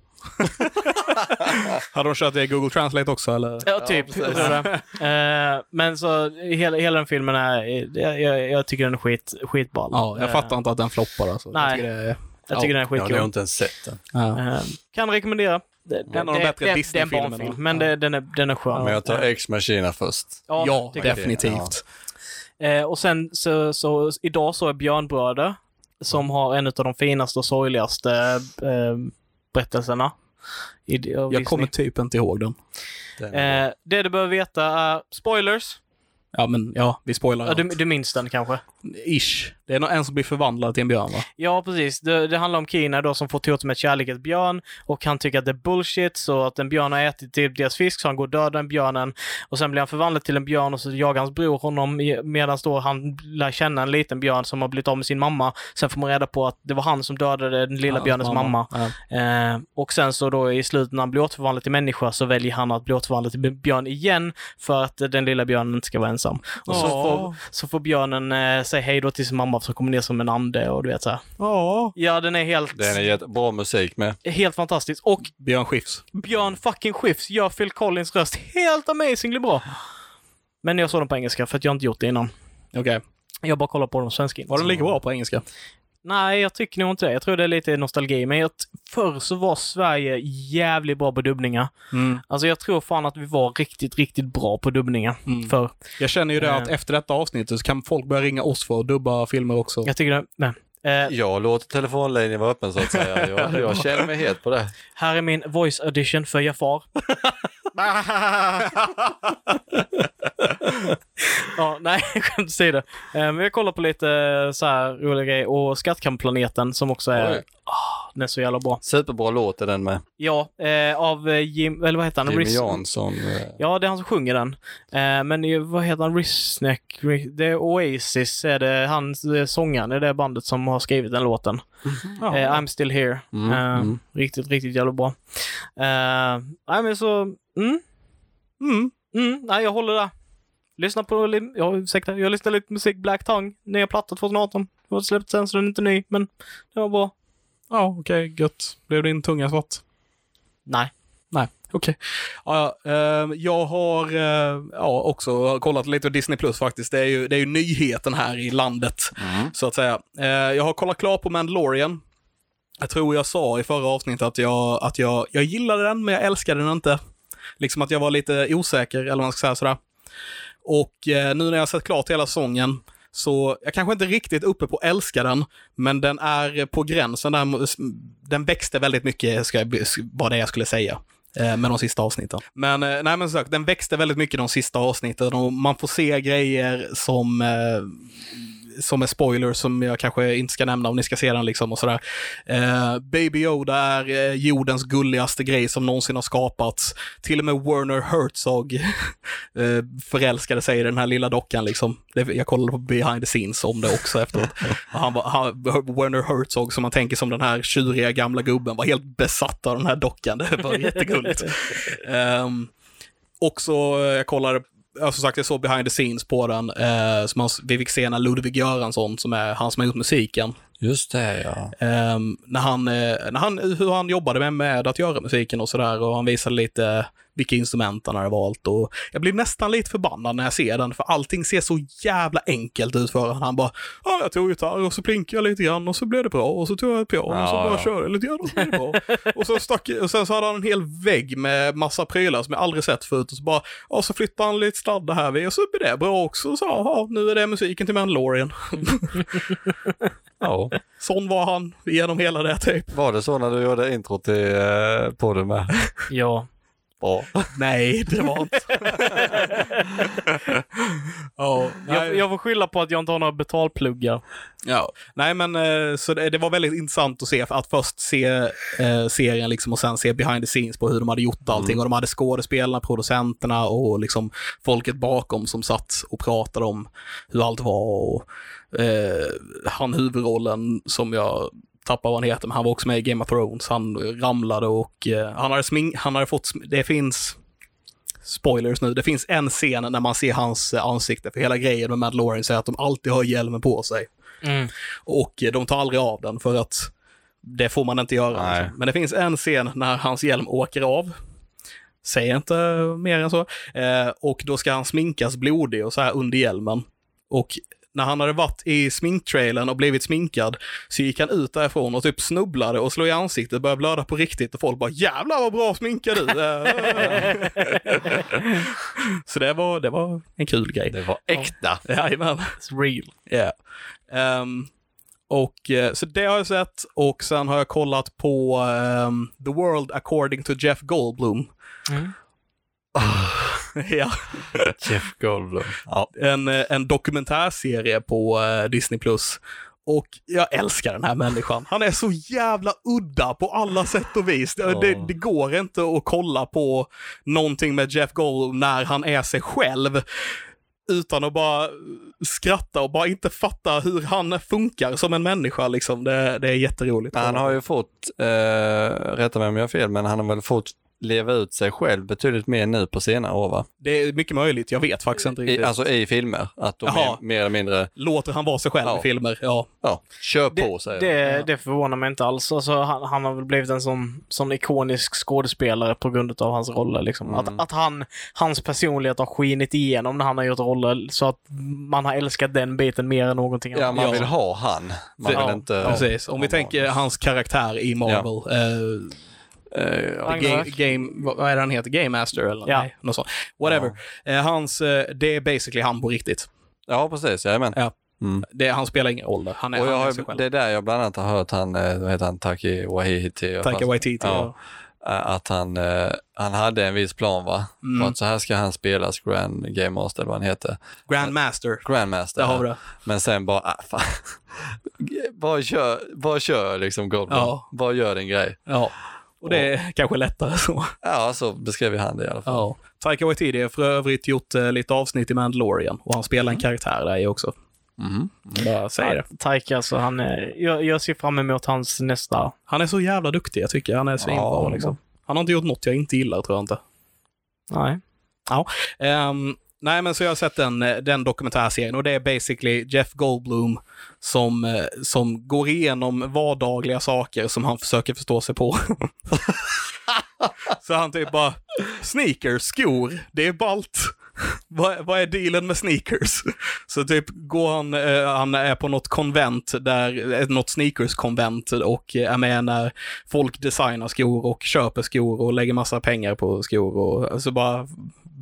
Hade de kört det i Google Translate också eller?
<laughs> Ja, typ.
Ja, precis.
Jag tror det. Eh, men så hela, hela den filmen är, jag, jag, jag tycker den är skit, skitball.
Ja, jag
Eh,
fattar inte att den floppar alltså.
nej.
Jag tycker det är...
Jag tycker den är
Ja,
skitcool.
det har jag inte ens sett den.
ja.
Eh, Kan rekommendera. Det, det,
En av de
det-
bättre
det- Det är
Disney-filmerna.
en barnfilm, men det, den, är, den är skön.
Men jag tar Ex Machina först.
ja,
tycker jag.
definitivt.
Eh, och sen så, så idag så är Björnbröder, som har en av de finaste och sorgligaste eh, berättelserna. I, av Disney.
Jag kommer typ inte ihåg den.
Den är
eh, det du behöver veta är spoilers.
Ja, men ja, vi spoilar
Ja, du,
allt.
du minns den kanske?
Ish. Det är nog en som blir förvandlad till en björn, va?
Ja, precis. Det, det handlar om Kina då som får Totemet kärlek ett björn och han tycker att det är bullshit så att en björn har ätit typ deras fisk så han går och dödar den björnen och sen blir han förvandlad till en björn och så jagar hans bror honom i- medan då han lär känna en liten björn som har blivit av med sin mamma. Sen får man reda på att det var han som dödade den lilla
Ja,
björnens mamma.
Ja.
Eh, och sen så då i slutet när han blir återförvandlad till människa så väljer han att bli återförvandlad till björn igen för att eh, den lilla björnen inte ska vara ensam. Och så
Ja.
får, så får björnen eh, säga hej då till sin mamma för så kommer ner som en ande och du vet så här.
ja.
Ja, den är helt,
Den är jättebra musik med.
helt fantastisk. Och
Björn Skifs.
Björn fucking Skifs gör Phil Collins röst helt amazingly bra. Men jag såg den på engelska för att jag inte gjort det innan.
Okej.
Jag bara kollar på de svenska.
Var den
Så-
lika bra på engelska?
Nej, jag tycker nog inte det. Jag tror det är lite nostalgi. Men jag, förr så var Sverige jävligt bra på dubbningar.
Mm.
Alltså jag tror fan att vi var riktigt, riktigt bra på dubbningar
Mm.
förr.
Jag känner ju det
Eh.
att efter detta avsnittet så kan folk börja ringa oss för att dubba filmer också.
Jag tycker det. Nej. Eh,
Jag låter telefonlinjen vara öppen så att <laughs> säga. Jag, jag känner mig helt på det.
här är min voice audition för Jafar. Ja, <laughs> nej, skämt åsido. Eh, Men jag kollar på lite eh, så här roliga grejer och Skattkampplaneten som också är,
Oj.
ah, den är så jävla bra.
<laughs> Superbra låt är den med.
Ja, eh, av eh, Jim, eller vad heter han?
Jimmy
Riz-
Jansson. eh,
Ja, det är han som sjunger den. Eh, men eh, vad heter han? Rissneck? Ri- Det är Oasis, är det han, eh, sångaren i det bandet som har skrivit den låten.
Ja.
Eh, I'm still here.
Mm,
Eh,
mm.
Riktigt, riktigt jävla bra. Eh, nej, men så, mm,
Mm.
mm, nej, jag håller där. Lyssna på, li- ja, ursäkta, jag lyssnade lite musik, Black Tongue, nya platta 2018. Den var släppt sen så den är inte ny, men det var bra.
Ja, okej, gött. Blev din tunga svart?
Nej.
Nej, okej. Ja, ja, eh, jag har eh, ja, också kollat lite på Disney Plus faktiskt. Det är, ju, det är ju nyheten här i landet, så att säga. Eh, jag har kollat klart på Mandalorian. Jag tror jag sa i förra avsnittet att jag, att jag, jag gillade den, men jag älskade den inte. Liksom att jag var lite osäker, eller vad man ska säga sådär. Och eh, nu när jag har sett klart hela säsongen, så jag kanske inte riktigt uppe på älska den, men den är på gränsen. Den, den växte väldigt mycket, ska jag, vad det är jag skulle säga, eh, med de sista avsnitten. Men, eh, nej, men som sagt, den växte väldigt mycket de sista avsnitten och man får se grejer som eh, som är spoilers som jag kanske inte ska nämna om ni ska se den liksom och sådär. Eh, Baby Yoda är eh, jordens gulligaste grej som någonsin har skapats. Till och med Werner Herzog <laughs> eh, förälskade sig i den här lilla dockan liksom. Det, jag kollade på behind the scenes om det också efteråt. Och han, var, han, Werner Herzog som man tänker som den här tjuriga gamla gubben var helt besatt av den här dockan. Det var jättegulligt. Ehm, också, eh, jag kollade ja, som sagt, jag såg behind the scenes på den. Eh, som man, vi fick se när Ludvig Göransson, som är han som har gjort musiken,
Just det, ja.
Ehm, när han, eh, när han, hur han jobbade med, med att göra musiken och sådär och han visade lite vilka instrument han hade valt. Och jag blir nästan lite förbannad när jag ser den, för allting ser så jävla enkelt ut för honom. Han bara, ja, jag tog gitarr och så plinkade jag lite grann och så blev det bra och så tog jag ett piano och så
Ja,
bara
ja.
körde jag lite grann och så blev det bra. och, så stack, och sen så hade han en hel vägg med massa prylar som jag aldrig sett förut och så bara, ja, så flyttade han lite sladdar här vid och så blev det bra också. Och så, ja, nu är det musiken till Mandalorian.
ja.
Sån var han genom hela det typ.
Var det så när du gjorde intro till eh, podden med?
Ja.
Bra.
Nej, det var inte. ja,
Jag,
nej,
jag får skylla på att jag inte har några betalpluggar.
ja. nej, men eh, så det, det var väldigt intressant att se, för att först se eh, serien liksom, och sen se behind the scenes på hur de hade gjort allting. Och de hade skådespelarna, producenterna och liksom folket bakom som satt och pratade om hur allt var. Och, eh, han huvudrollen som jag tappar vad han heter, men han var också med i Game of Thrones. Han ramlade och eh, han, hade smink, han hade fått, sm- det finns spoilers nu, det finns en scen när man ser hans eh, ansikte, för hela grejen med Mandalorian är att de alltid har hjälmen på sig.
Mm.
Och eh, de tar aldrig av den för att det får man inte göra.
Nej.
liksom. Men det finns en scen när hans hjälm åker av. Säger inte mer än så. Eh, och då ska han sminkas blodig och så här under hjälmen. Och när han hade varit i sminktrailern och blivit sminkad så gick han ut därifrån och typ snubblade och slog i ansiktet, började blöda på riktigt och folk bara jävlar vad bra sminkad du är." Så det var, det var en kul grej.
Det var äkta.
Jajamän.
It's real.
Ja. Ehm, och eh, så det har jag sett och sen har jag kollat på ehm, The World According to Jeff Goldblum. Ah,
Mm.
<laughs> ja,
Jeff Goldblum. Ja.
en, eh, en dokumentärserie på eh, Disney+. Plus. Och jag älskar den här människan. Han är så jävla udda på alla sätt och vis. Det, det, det går inte att kolla på någonting med Jeff Goldblum när han är sig själv utan att bara skratta och bara inte fatta hur han funkar som en människa. Liksom. Det, det är jätteroligt.
Han har ju fått, eh, rätta mig om jag har fel, men han har väl fått leva ut sig själv betydligt mer nu på senare år va?
Det är mycket möjligt, jag vet faktiskt inte
I,
riktigt.
alltså i filmer, att de
Jaha.
är mer eller mindre,
Låter han vara sig själv
Ja.
i filmer? Ja.
ja, kör på säger de.
Det, det förvånar mig inte alls. Alltså, han, han har väl blivit en sån, sån ikonisk skådespelare på grund av hans roller. Liksom.
Mm.
Att, att han, hans personlighet har skinit igenom när han har gjort roller så att man har älskat den biten mer än någonting
Ja, man
Ja.
vill ha han. Man
Ja,
vill inte...
Precis, om vi tänker hans karaktär i Marvel. eh,
Eh,
Game,
ja.
Ragnarök.
game, vad vad är det han heter? Game Master eller
Ja.
nej, något sånt. Whatever. Eh, hans, eh, det är basically han på riktigt.
ja, precis. Jajamän.
Ja.
Mm.
Det, han spelar ingen roll där. Han är,
och jag
han är sig
har,
själv.
det är där jag bland annat har hört han, eh, vad heter han, Taki Waititi. jag
Taika
fast-
Waititi.
Ja. Eh, Att han, eh, han hade en viss plan va?
Mm.
För att så här ska han spelas Grand Game Master, eller vad han heter.
Grandmaster.
Grandmaster.
Där har vi det.
Men sen bara, ah, fan. bara, kör, bara kör liksom Goldblum.
Ja.
Bara gör din grej.
Ja. Och det är kanske lättare så.
Ja, så beskrev han det i alla fall.
Ja. Taika Waititi har för övrigt gjort eh, lite avsnitt i Mandalorian och han spelar en karaktär där i också.
Mhm.
Bara säger det.
Taika, alltså, han, är- jag, jag ser fram emot hans nästa.
Han är så jävla duktig, jag tycker. Han är svinbra
Ja.
liksom. Han har inte gjort något jag inte gillar, tror jag inte.
Nej.
Ehm, nej, men så jag har sett den, eh, den dokumentärserien och det är basically Jeff Goldblum som, eh, som går igenom vardagliga saker som han försöker förstå sig på. <laughs> så han typ bara, sneakers, skor, det är balt. <laughs> Vad, vad är dealen med sneakers? Så typ går han, eh, han är på något konvent där, eh, något sneakers-konvent och eh, är med när folk designar skor och köper skor och lägger massa pengar på skor och alltså bara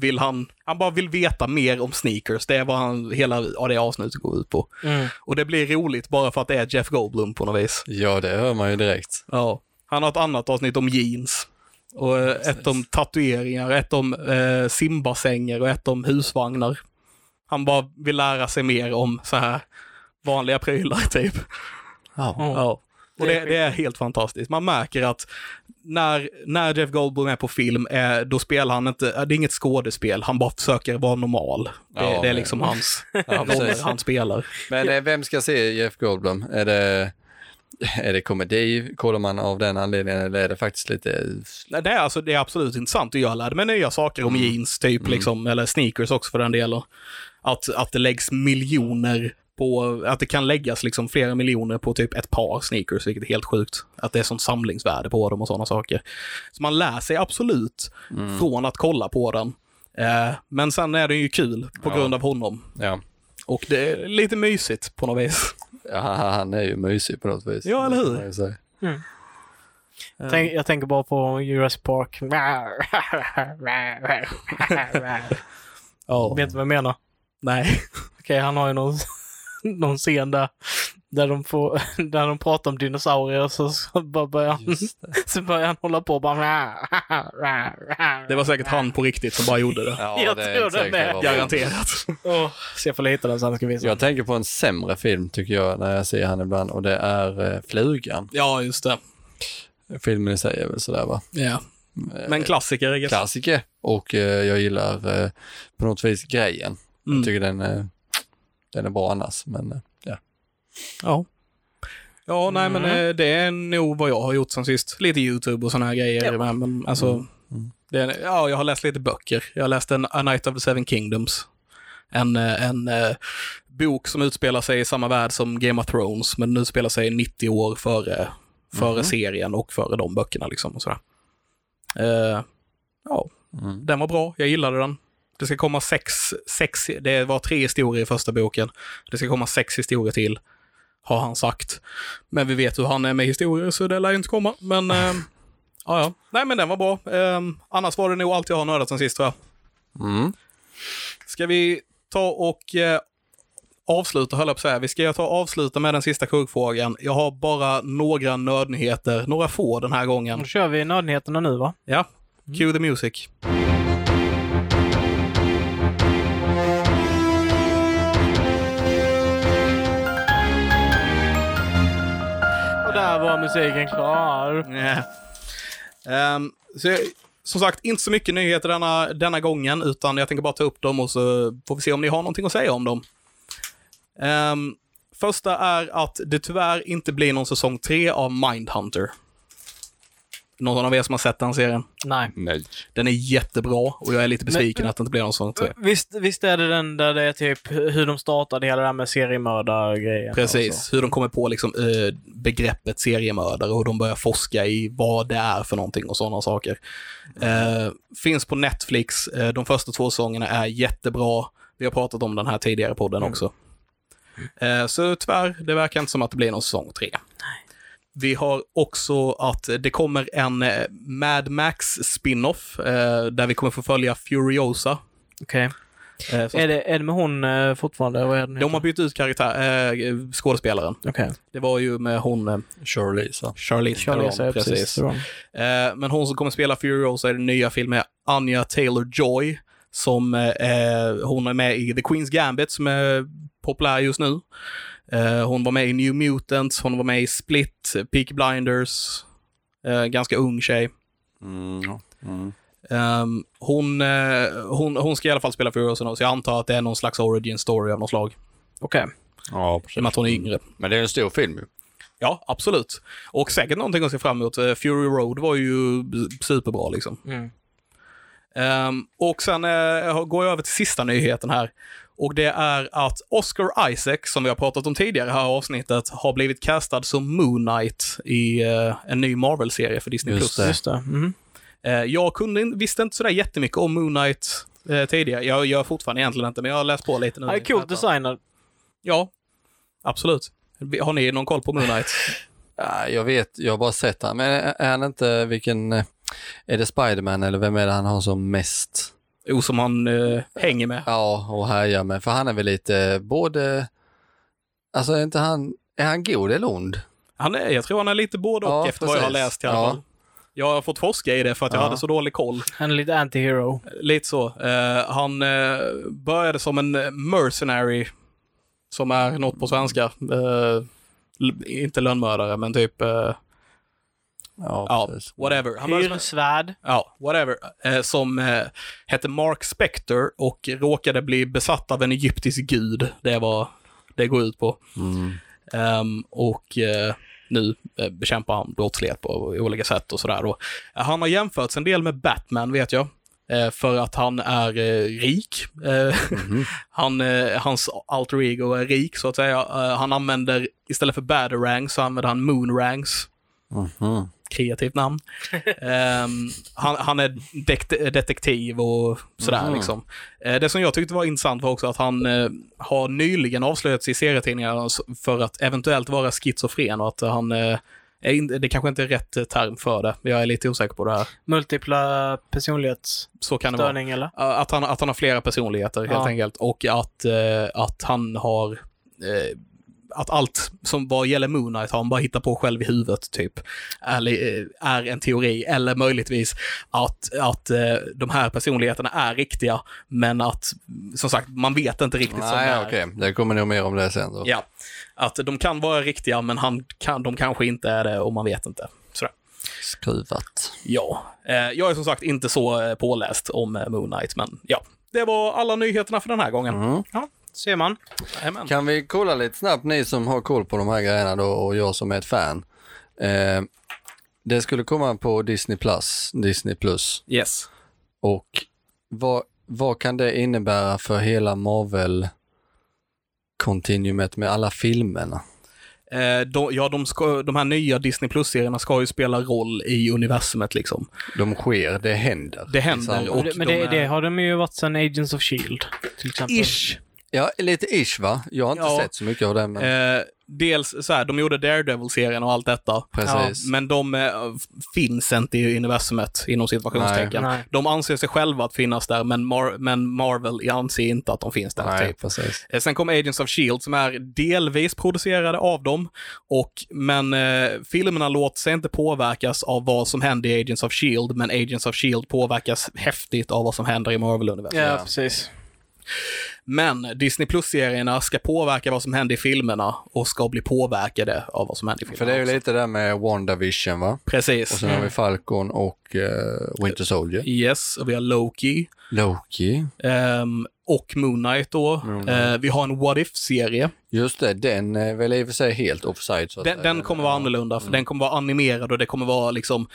vill han, han bara vill veta mer om sneakers. Det är vad han, hela ja, det avsnittet går ut på.
Mm.
Och det blir roligt bara för att det är Jeff Goldblum på något vis.
Ja, det hör man ju direkt.
Ja. Han har ett annat avsnitt om jeans. Och eh, ett om tatueringar, ett om eh, simbassänger och ett om husvagnar. Han bara vill lära sig mer om så här vanliga prylar <laughs> typ.
Ja.
Ja. Och
Det är
det, det är helt fantastiskt. Man märker att när, när Jeff Goldblum är på film, eh, då spelar han inte, eh, det är inget skådespel, han bara försöker vara normal. Det,
Ja,
det är
men-
liksom hans
Ja,
roller
precis.
han spelar.
Men eh, vem ska se Jeff Goldblum? Är det Är det komedi? Kollar man av den anledningen eller är det faktiskt lite...
Nej, Det är, alltså, det är absolut intressant och jag lärde mig nya saker om jeans, typ, liksom, eller sneakers också för den delen. Att, att det läggs miljoner på, att det kan läggas liksom flera miljoner på typ ett par sneakers, vilket är helt sjukt. Att det är sånt samlingsvärde på dem och sådana saker. Så man lär sig absolut från att kolla på den. Eh, men sen är den ju kul på
Ja.
grund av honom.
Ja.
Och det är lite mysigt på något vis.
ja, han är ju mysig på något vis.
Ja, eller hur?
kan man ju säga.
Tänk, jag tänker bara på Jurassic Park. <laughs>
Ja.
Vet du vad jag menar?
Nej.
Okej, han har ju någon, <laughs> någon scen där, där, de får, <laughs> där de pratar om dinosaurier så, så bara börjar han, så börjar han hålla på och bara...
Det var säkert han på riktigt som bara gjorde det. <laughs>
Ja,
Jag
det är
tror
inte
det
säkert
med.
det var-
Garanterat.
Åh, så jag får hitta den sen ska visa.
Jag tänker på en sämre film tycker jag när jag ser han ibland och det är eh, Flugan.
Ja, just det.
Filmen i sig är väl sådär va?
Ja. Men klassiker, I guess.
Klassiker och eh, jag gillar eh, på något vis grejen.
Mm.
Jag tycker den, eh, den är bra annars men eh, ja.
Ja. Ja, nej men eh, det är nog vad jag har gjort sen sist. Lite YouTube och såna här grejer. Men, men alltså, Det är, ja, jag har läst lite böcker. Jag har läst en A Night of the Seven Kingdoms. En, eh, en eh, bok som utspelar sig i samma värld som Game of Thrones, men den utspelar sig 90 år före, före serien och före de böckerna. Liksom, och sådär. Eh, ja,
Mm.
den var bra. Jag gillade den. Det ska komma sex, sex, det var tre historier i första boken. Det ska komma sex historier till, har han sagt. Men vi vet hur han är med historier, så det lär ju inte komma. Men, eh, ja, ja. Nej, men den var bra. Ehm, annars var det nog allt jag har nördat sen sist, tror jag.
Mm.
Ska vi ta och eh, avsluta, höll jag på att säga. Vi ska ta och avsluta med den sista kuggfrågan. Jag har bara några nördnyheter, några få den här gången.
Då kör vi nödnyheterna nu va?
Ja, cue the music.
Och där var musiken klar.
Nej. Eh, Ehm, så jag, som sagt, inte så mycket nyheter denna, denna gången, utan jag tänker bara ta upp dem och så får vi se om ni har någonting att säga om dem. Ehm, första är att det tyvärr inte blir någon säsong tre av Mindhunter. Någon av er som har sett den serien?
Nej.
Nej.
Den är jättebra och jag är lite besviken att det inte blir någon säsong tre.
Visst, visst är det den där det är typ hur de startade hela det här med seriemördargrejen? och så?
Precis, hur de kommer på liksom, eh, begreppet seriemördare och de börjar forska i vad det är för någonting och sådana saker. Eh, finns på Netflix, eh, de första två säsongerna är jättebra. Vi har pratat om den här tidigare i
Mm.
podden också. Eh, så tyvärr, det verkar inte som att det blir någon säsong tre. Vi har också att det kommer en eh, Mad Max spin-off eh, där vi kommer få följa Furiosa.
Okej.
Eh, som-
Är, det, är det med hon eh, fortfarande? Vad är det nu?
de har bytt ut karaktär, eh, skådespelaren.
Okej.
Det var ju med hon eh,
Charlize.
Charlize,
Charlize
Theron,
är precis.
precis.
Theron.
Eh, men hon som kommer spela Furiosa i den nya filmen är Anya Taylor-Joy. Som eh, eh, hon är med i The Queen's Gambit som är populär just nu. Eh, hon var med i New Mutants, hon var med i Split, Peak Blinders. Eh, ganska ung tjej.
Mm. Mm.
Ehm, hon, eh, hon, hon ska i alla fall spela Furiosa nu, så jag antar att det är någon slags origin story av något slag.
Okej.
Ja,
I och med att hon är yngre.
Men det är en stor film ju.
Ja, absolut. Och säkert någonting att se fram emot. Eh, Fury Road var ju superbra liksom.
Mm.
Ehm, och sen eh, går jag över till sista nyheten här. Och det är att Oscar Isaac, som vi har pratat om tidigare i det här avsnittet, har blivit castad som Moon Knight i eh, en ny Marvel-serie för Disney+.
Just det.
Just det. Mm.
Eh, jag kunde, in- visste inte sådär jättemycket om Moon Knight eh, tidigare. Jag gör fortfarande egentligen inte, men jag har läst på lite nu.
Ja, det är coolt designad.
Ja, absolut. Har ni någon koll på Moon Knight?
Ja, jag vet, jag har bara sett han. Men är är han inte, vilken, eh, är det Spiderman eller vem är det han har som mest?
Jo, som han eh, hänger med.
Ja, och härjar med. För han är väl lite eh, både, alltså är inte han, är han god eller ond?
Han är, jag tror han är lite både och
Ja,
efter vad jag har
precis.
läst i alla
Ja.
fall. Jag har fått forska i det för att jag
Ja.
hade så dålig koll.
Han är lite anti-hero.
Lite så. Eh, han eh, började som en mercenary, som är något på svenska. Eh, l- inte lönnmördare, men typ, eh, ja,
precis.
whatever. Han började som,
Hyresvärd.
ja, whatever. Eh, som eh, hette Mark Spector och råkade bli besatt av en egyptisk gud. Det var det går ut på.
Mm.
Ehm, och eh, nu eh, bekämpar han brottslighet på olika sätt och sådär. Och, eh, han har jämförts en del med Batman, vet jag. eh, För att han är eh, rik. Eh,
Mhm.
<laughs> han, eh, hans alter ego är rik, så att säga. Eh, han använder, istället för Batarangs, så använder han Moonrangs
Mhm.
kreativt namn. Ehm, han, han är dekt- detektiv och sådär.
Mhm.
Liksom. Eh, det som jag tyckte var intressant var också att han eh, har nyligen avslöjats i serietidningarna s- för att eventuellt vara schizofren och att eh, han eh, är in, det kanske inte är rätt eh, term för det. Jag är lite osäker på det här.
Multipla personlighetsstörning,
Så kan det vara.
eller?
Eh, Att han, att han har flera personligheter helt
Ja.
enkelt och att, eh, att han har eh, att allt som vad gäller Moon Knight har han bara hittat på själv i huvudet, typ. Eller, eh, är en teori, eller möjligtvis att, att eh, de här personligheterna är riktiga, men att, som sagt, man vet inte riktigt som det
Nej,
är.
okej. Det kommer nog mer om det sen. Då.
Ja, att de kan vara riktiga, men han kan, de kanske inte är det och man vet inte. Sådär.
Skruvat.
Ja, eh, jag är som sagt inte så eh, påläst om eh, Moon Knight, men ja. Det var alla nyheterna för den här gången.
Mm.
Ja, ser man.
Jajamän.
Kan vi kolla lite snabbt, ni som har koll på de här grejerna då och jag som är ett fan. Eh, det skulle komma på Disney Plus, Disney Plus.
Yes.
Och vad, vad kan det innebära för hela Marvel-kontinuumet med alla filmerna?
Eh, de, ja, de, ska, de här nya Disney Plus-serierna ska ju spela roll i universumet liksom.
De sker, det händer. Liksom.
Det händer
Och,
och-
Men
de
det,
är-
det har de ju varit sedan Agents of Shield, E till exempel.
Ish.
ja, lite ish va? Jag har inte
Ja.
sett så mycket av det, men
Eh, dels så här, de gjorde Daredevil-serien och allt detta.
precis.
Men de eh, finns inte i universumet, inom situationstecken.
Nej. Nej.
De anser sig själva att finnas där, men, Mar- men Marvel anser inte att de finns där.
Nej,
typ.
precis.
Eh, Sen kom Agents of Shield som är delvis producerade av dem, och, men eh, filmerna låter sig inte påverkas av vad som händer i Agents of Shield, men Agents of Shield E påverkas häftigt av vad som händer i Marvel-universum.
Ja, precis.
Men Disney Plus-serierna ska påverka vad som händer i filmerna och ska bli påverkade av vad som händer i filmerna.
För det är ju
också.
lite där med WandaVision va? Och
Precis.
sen har vi Falcon och eh, Winter Soldier.
Yes, och vi har Loki.
Loki.
ehm, och Moon Knight då. Eh, vi har en What If-serie.
Just det, den är väl i och för sig helt offside. Så att eh,
Den,
Mm. säga.
den kommer vara annorlunda, för den kommer vara animerad och det kommer vara liksom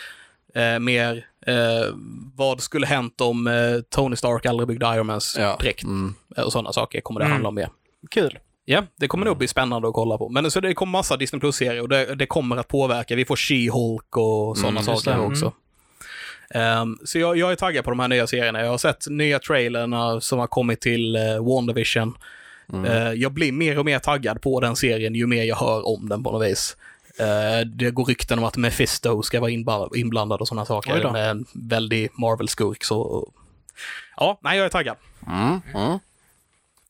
eh, mer eh, vad skulle hänt om eh, Tony Stark aldrig byggde Iron Mans
Ja.
dräkt
Mm.
eh, och sådana saker kommer det
Mm.
handla om mer.
Kul.
Ja, det kommer
Mm.
nog bli spännande att kolla på. Men så det kommer massa Disney Plus-serier och det, det kommer att påverka. Vi får She-Hulk och sådana
Mm, just
saker
det.
också.
Mm.
Ehm, så jag, jag är taggad på de här nya serierna. Jag har sett nya trailerna som har kommit till eh, WandaVision.
Mm.
Eh, jag blir mer och mer taggad på den serien ju mer jag hör om den på något vis. Eh, det går rykten om att Mephisto ska vara inba- inblandad och sådana
Oj då.
saker. Med en väldig Marvel-skurk. Så... Ja, nej, jag är taggad.
Mm. Mm.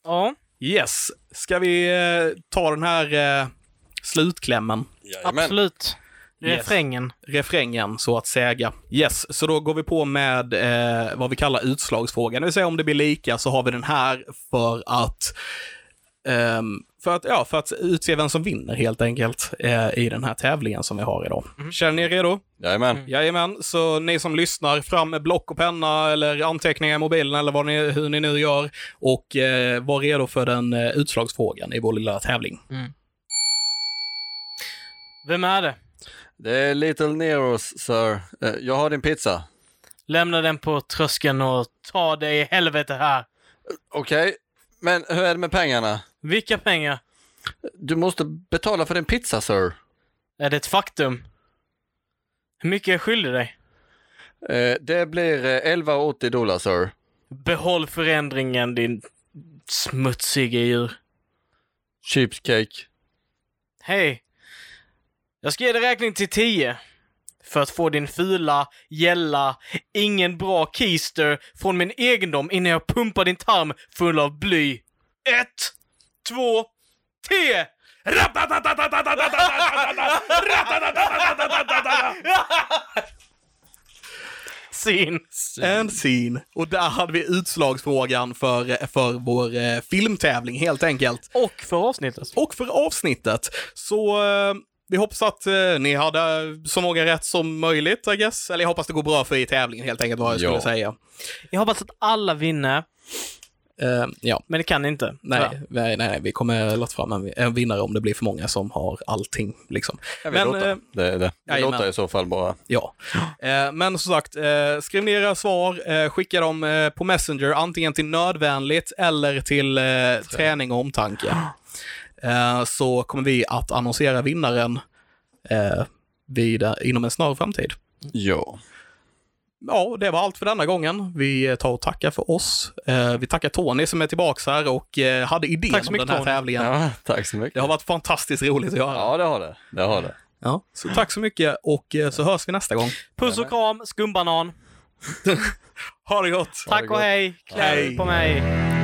Ja,
Yes. Ska vi eh, ta den här eh, slutklämmen,
absolut.
Yes.
Refrängen.
refrängen så att säga? Yes, så då går vi på med eh, vad vi kallar utslagsfrågan. Det vill säga om det blir lika så har vi den här för att ehm, för att, ja, för att utse vem som vinner helt enkelt eh, i den här tävlingen som vi har idag. Känner ni er redo?
Jajamän.
Mm. Jajamän, så ni som lyssnar, fram med block och penna eller anteckningar i mobilen eller vad ni, hur ni nu gör och eh, var redo för den eh, utslagsfrågan i vår lilla tävling.
Vem är det?
Det är Little Neros, sir. Eh, Jag har din pizza.
Lämna den på tröskeln och ta dig i helvete här.
Okej, men hur är det med pengarna?
Vilka pengar?
Du måste betala för din pizza, sir.
Är det ett faktum? Hur mycket jag skyldig dig?
Eh, Det blir eh, 11,80 dollar, sir.
Behåll förändringen din smutsiga djur.
Cheapcake.
Hej! Jag ska ge dig räkning till 10. För att få din fula, gälla, ingen bra keister från min egendom innan jag pumpar din tarm full av bly. Ett, två, tre! <laughs> Sin.
And scene. Och där hade vi utslagsfrågan för, för vår eh, filmtävling helt enkelt.
Och för avsnittet.
och för avsnittet. Så eh, vi hoppas att eh, ni hade så många rätt som möjligt, I guess. Eller jag hoppas det går bra för er i tävlingen helt enkelt, vad jag
Ja.
skulle säga.
Jag hoppas att alla vinner.
Eh, ja,
Men det kan ni inte.
nej, nej, nej, nej, vi kommer låta fram en, en vinnare om det blir för många som har allting. Liksom.
Jag vill
Men,
låta.
eh,
det är det. Vi
jajamän.
låter i så fall bara.
Ja. Eh, men som sagt, eh, skriv ner era svar, eh, skicka dem eh, på Messenger, antingen till nödvändigt eller till eh, träning och omtanke. Eh, så kommer vi att annonsera vinnaren eh, vid, inom en snar framtid.
Ja.
Ja, det var allt för denna gången. Vi eh, tar och tackar för oss. Eh, vi tackar Tony som är tillbaka här och eh, hade idén
Tack så
om
mycket,
den här
Tony.
tävlingen.
ja. Tack så mycket.
Det har varit fantastiskt roligt att göra.
Ja, det har det. Det har det.
Ja. Så tack så mycket och eh, så hörs vi nästa gång.
Puss och kram, skumbanan.
Ha det gott!
Tack och hej. Klä
Hej.
på mig.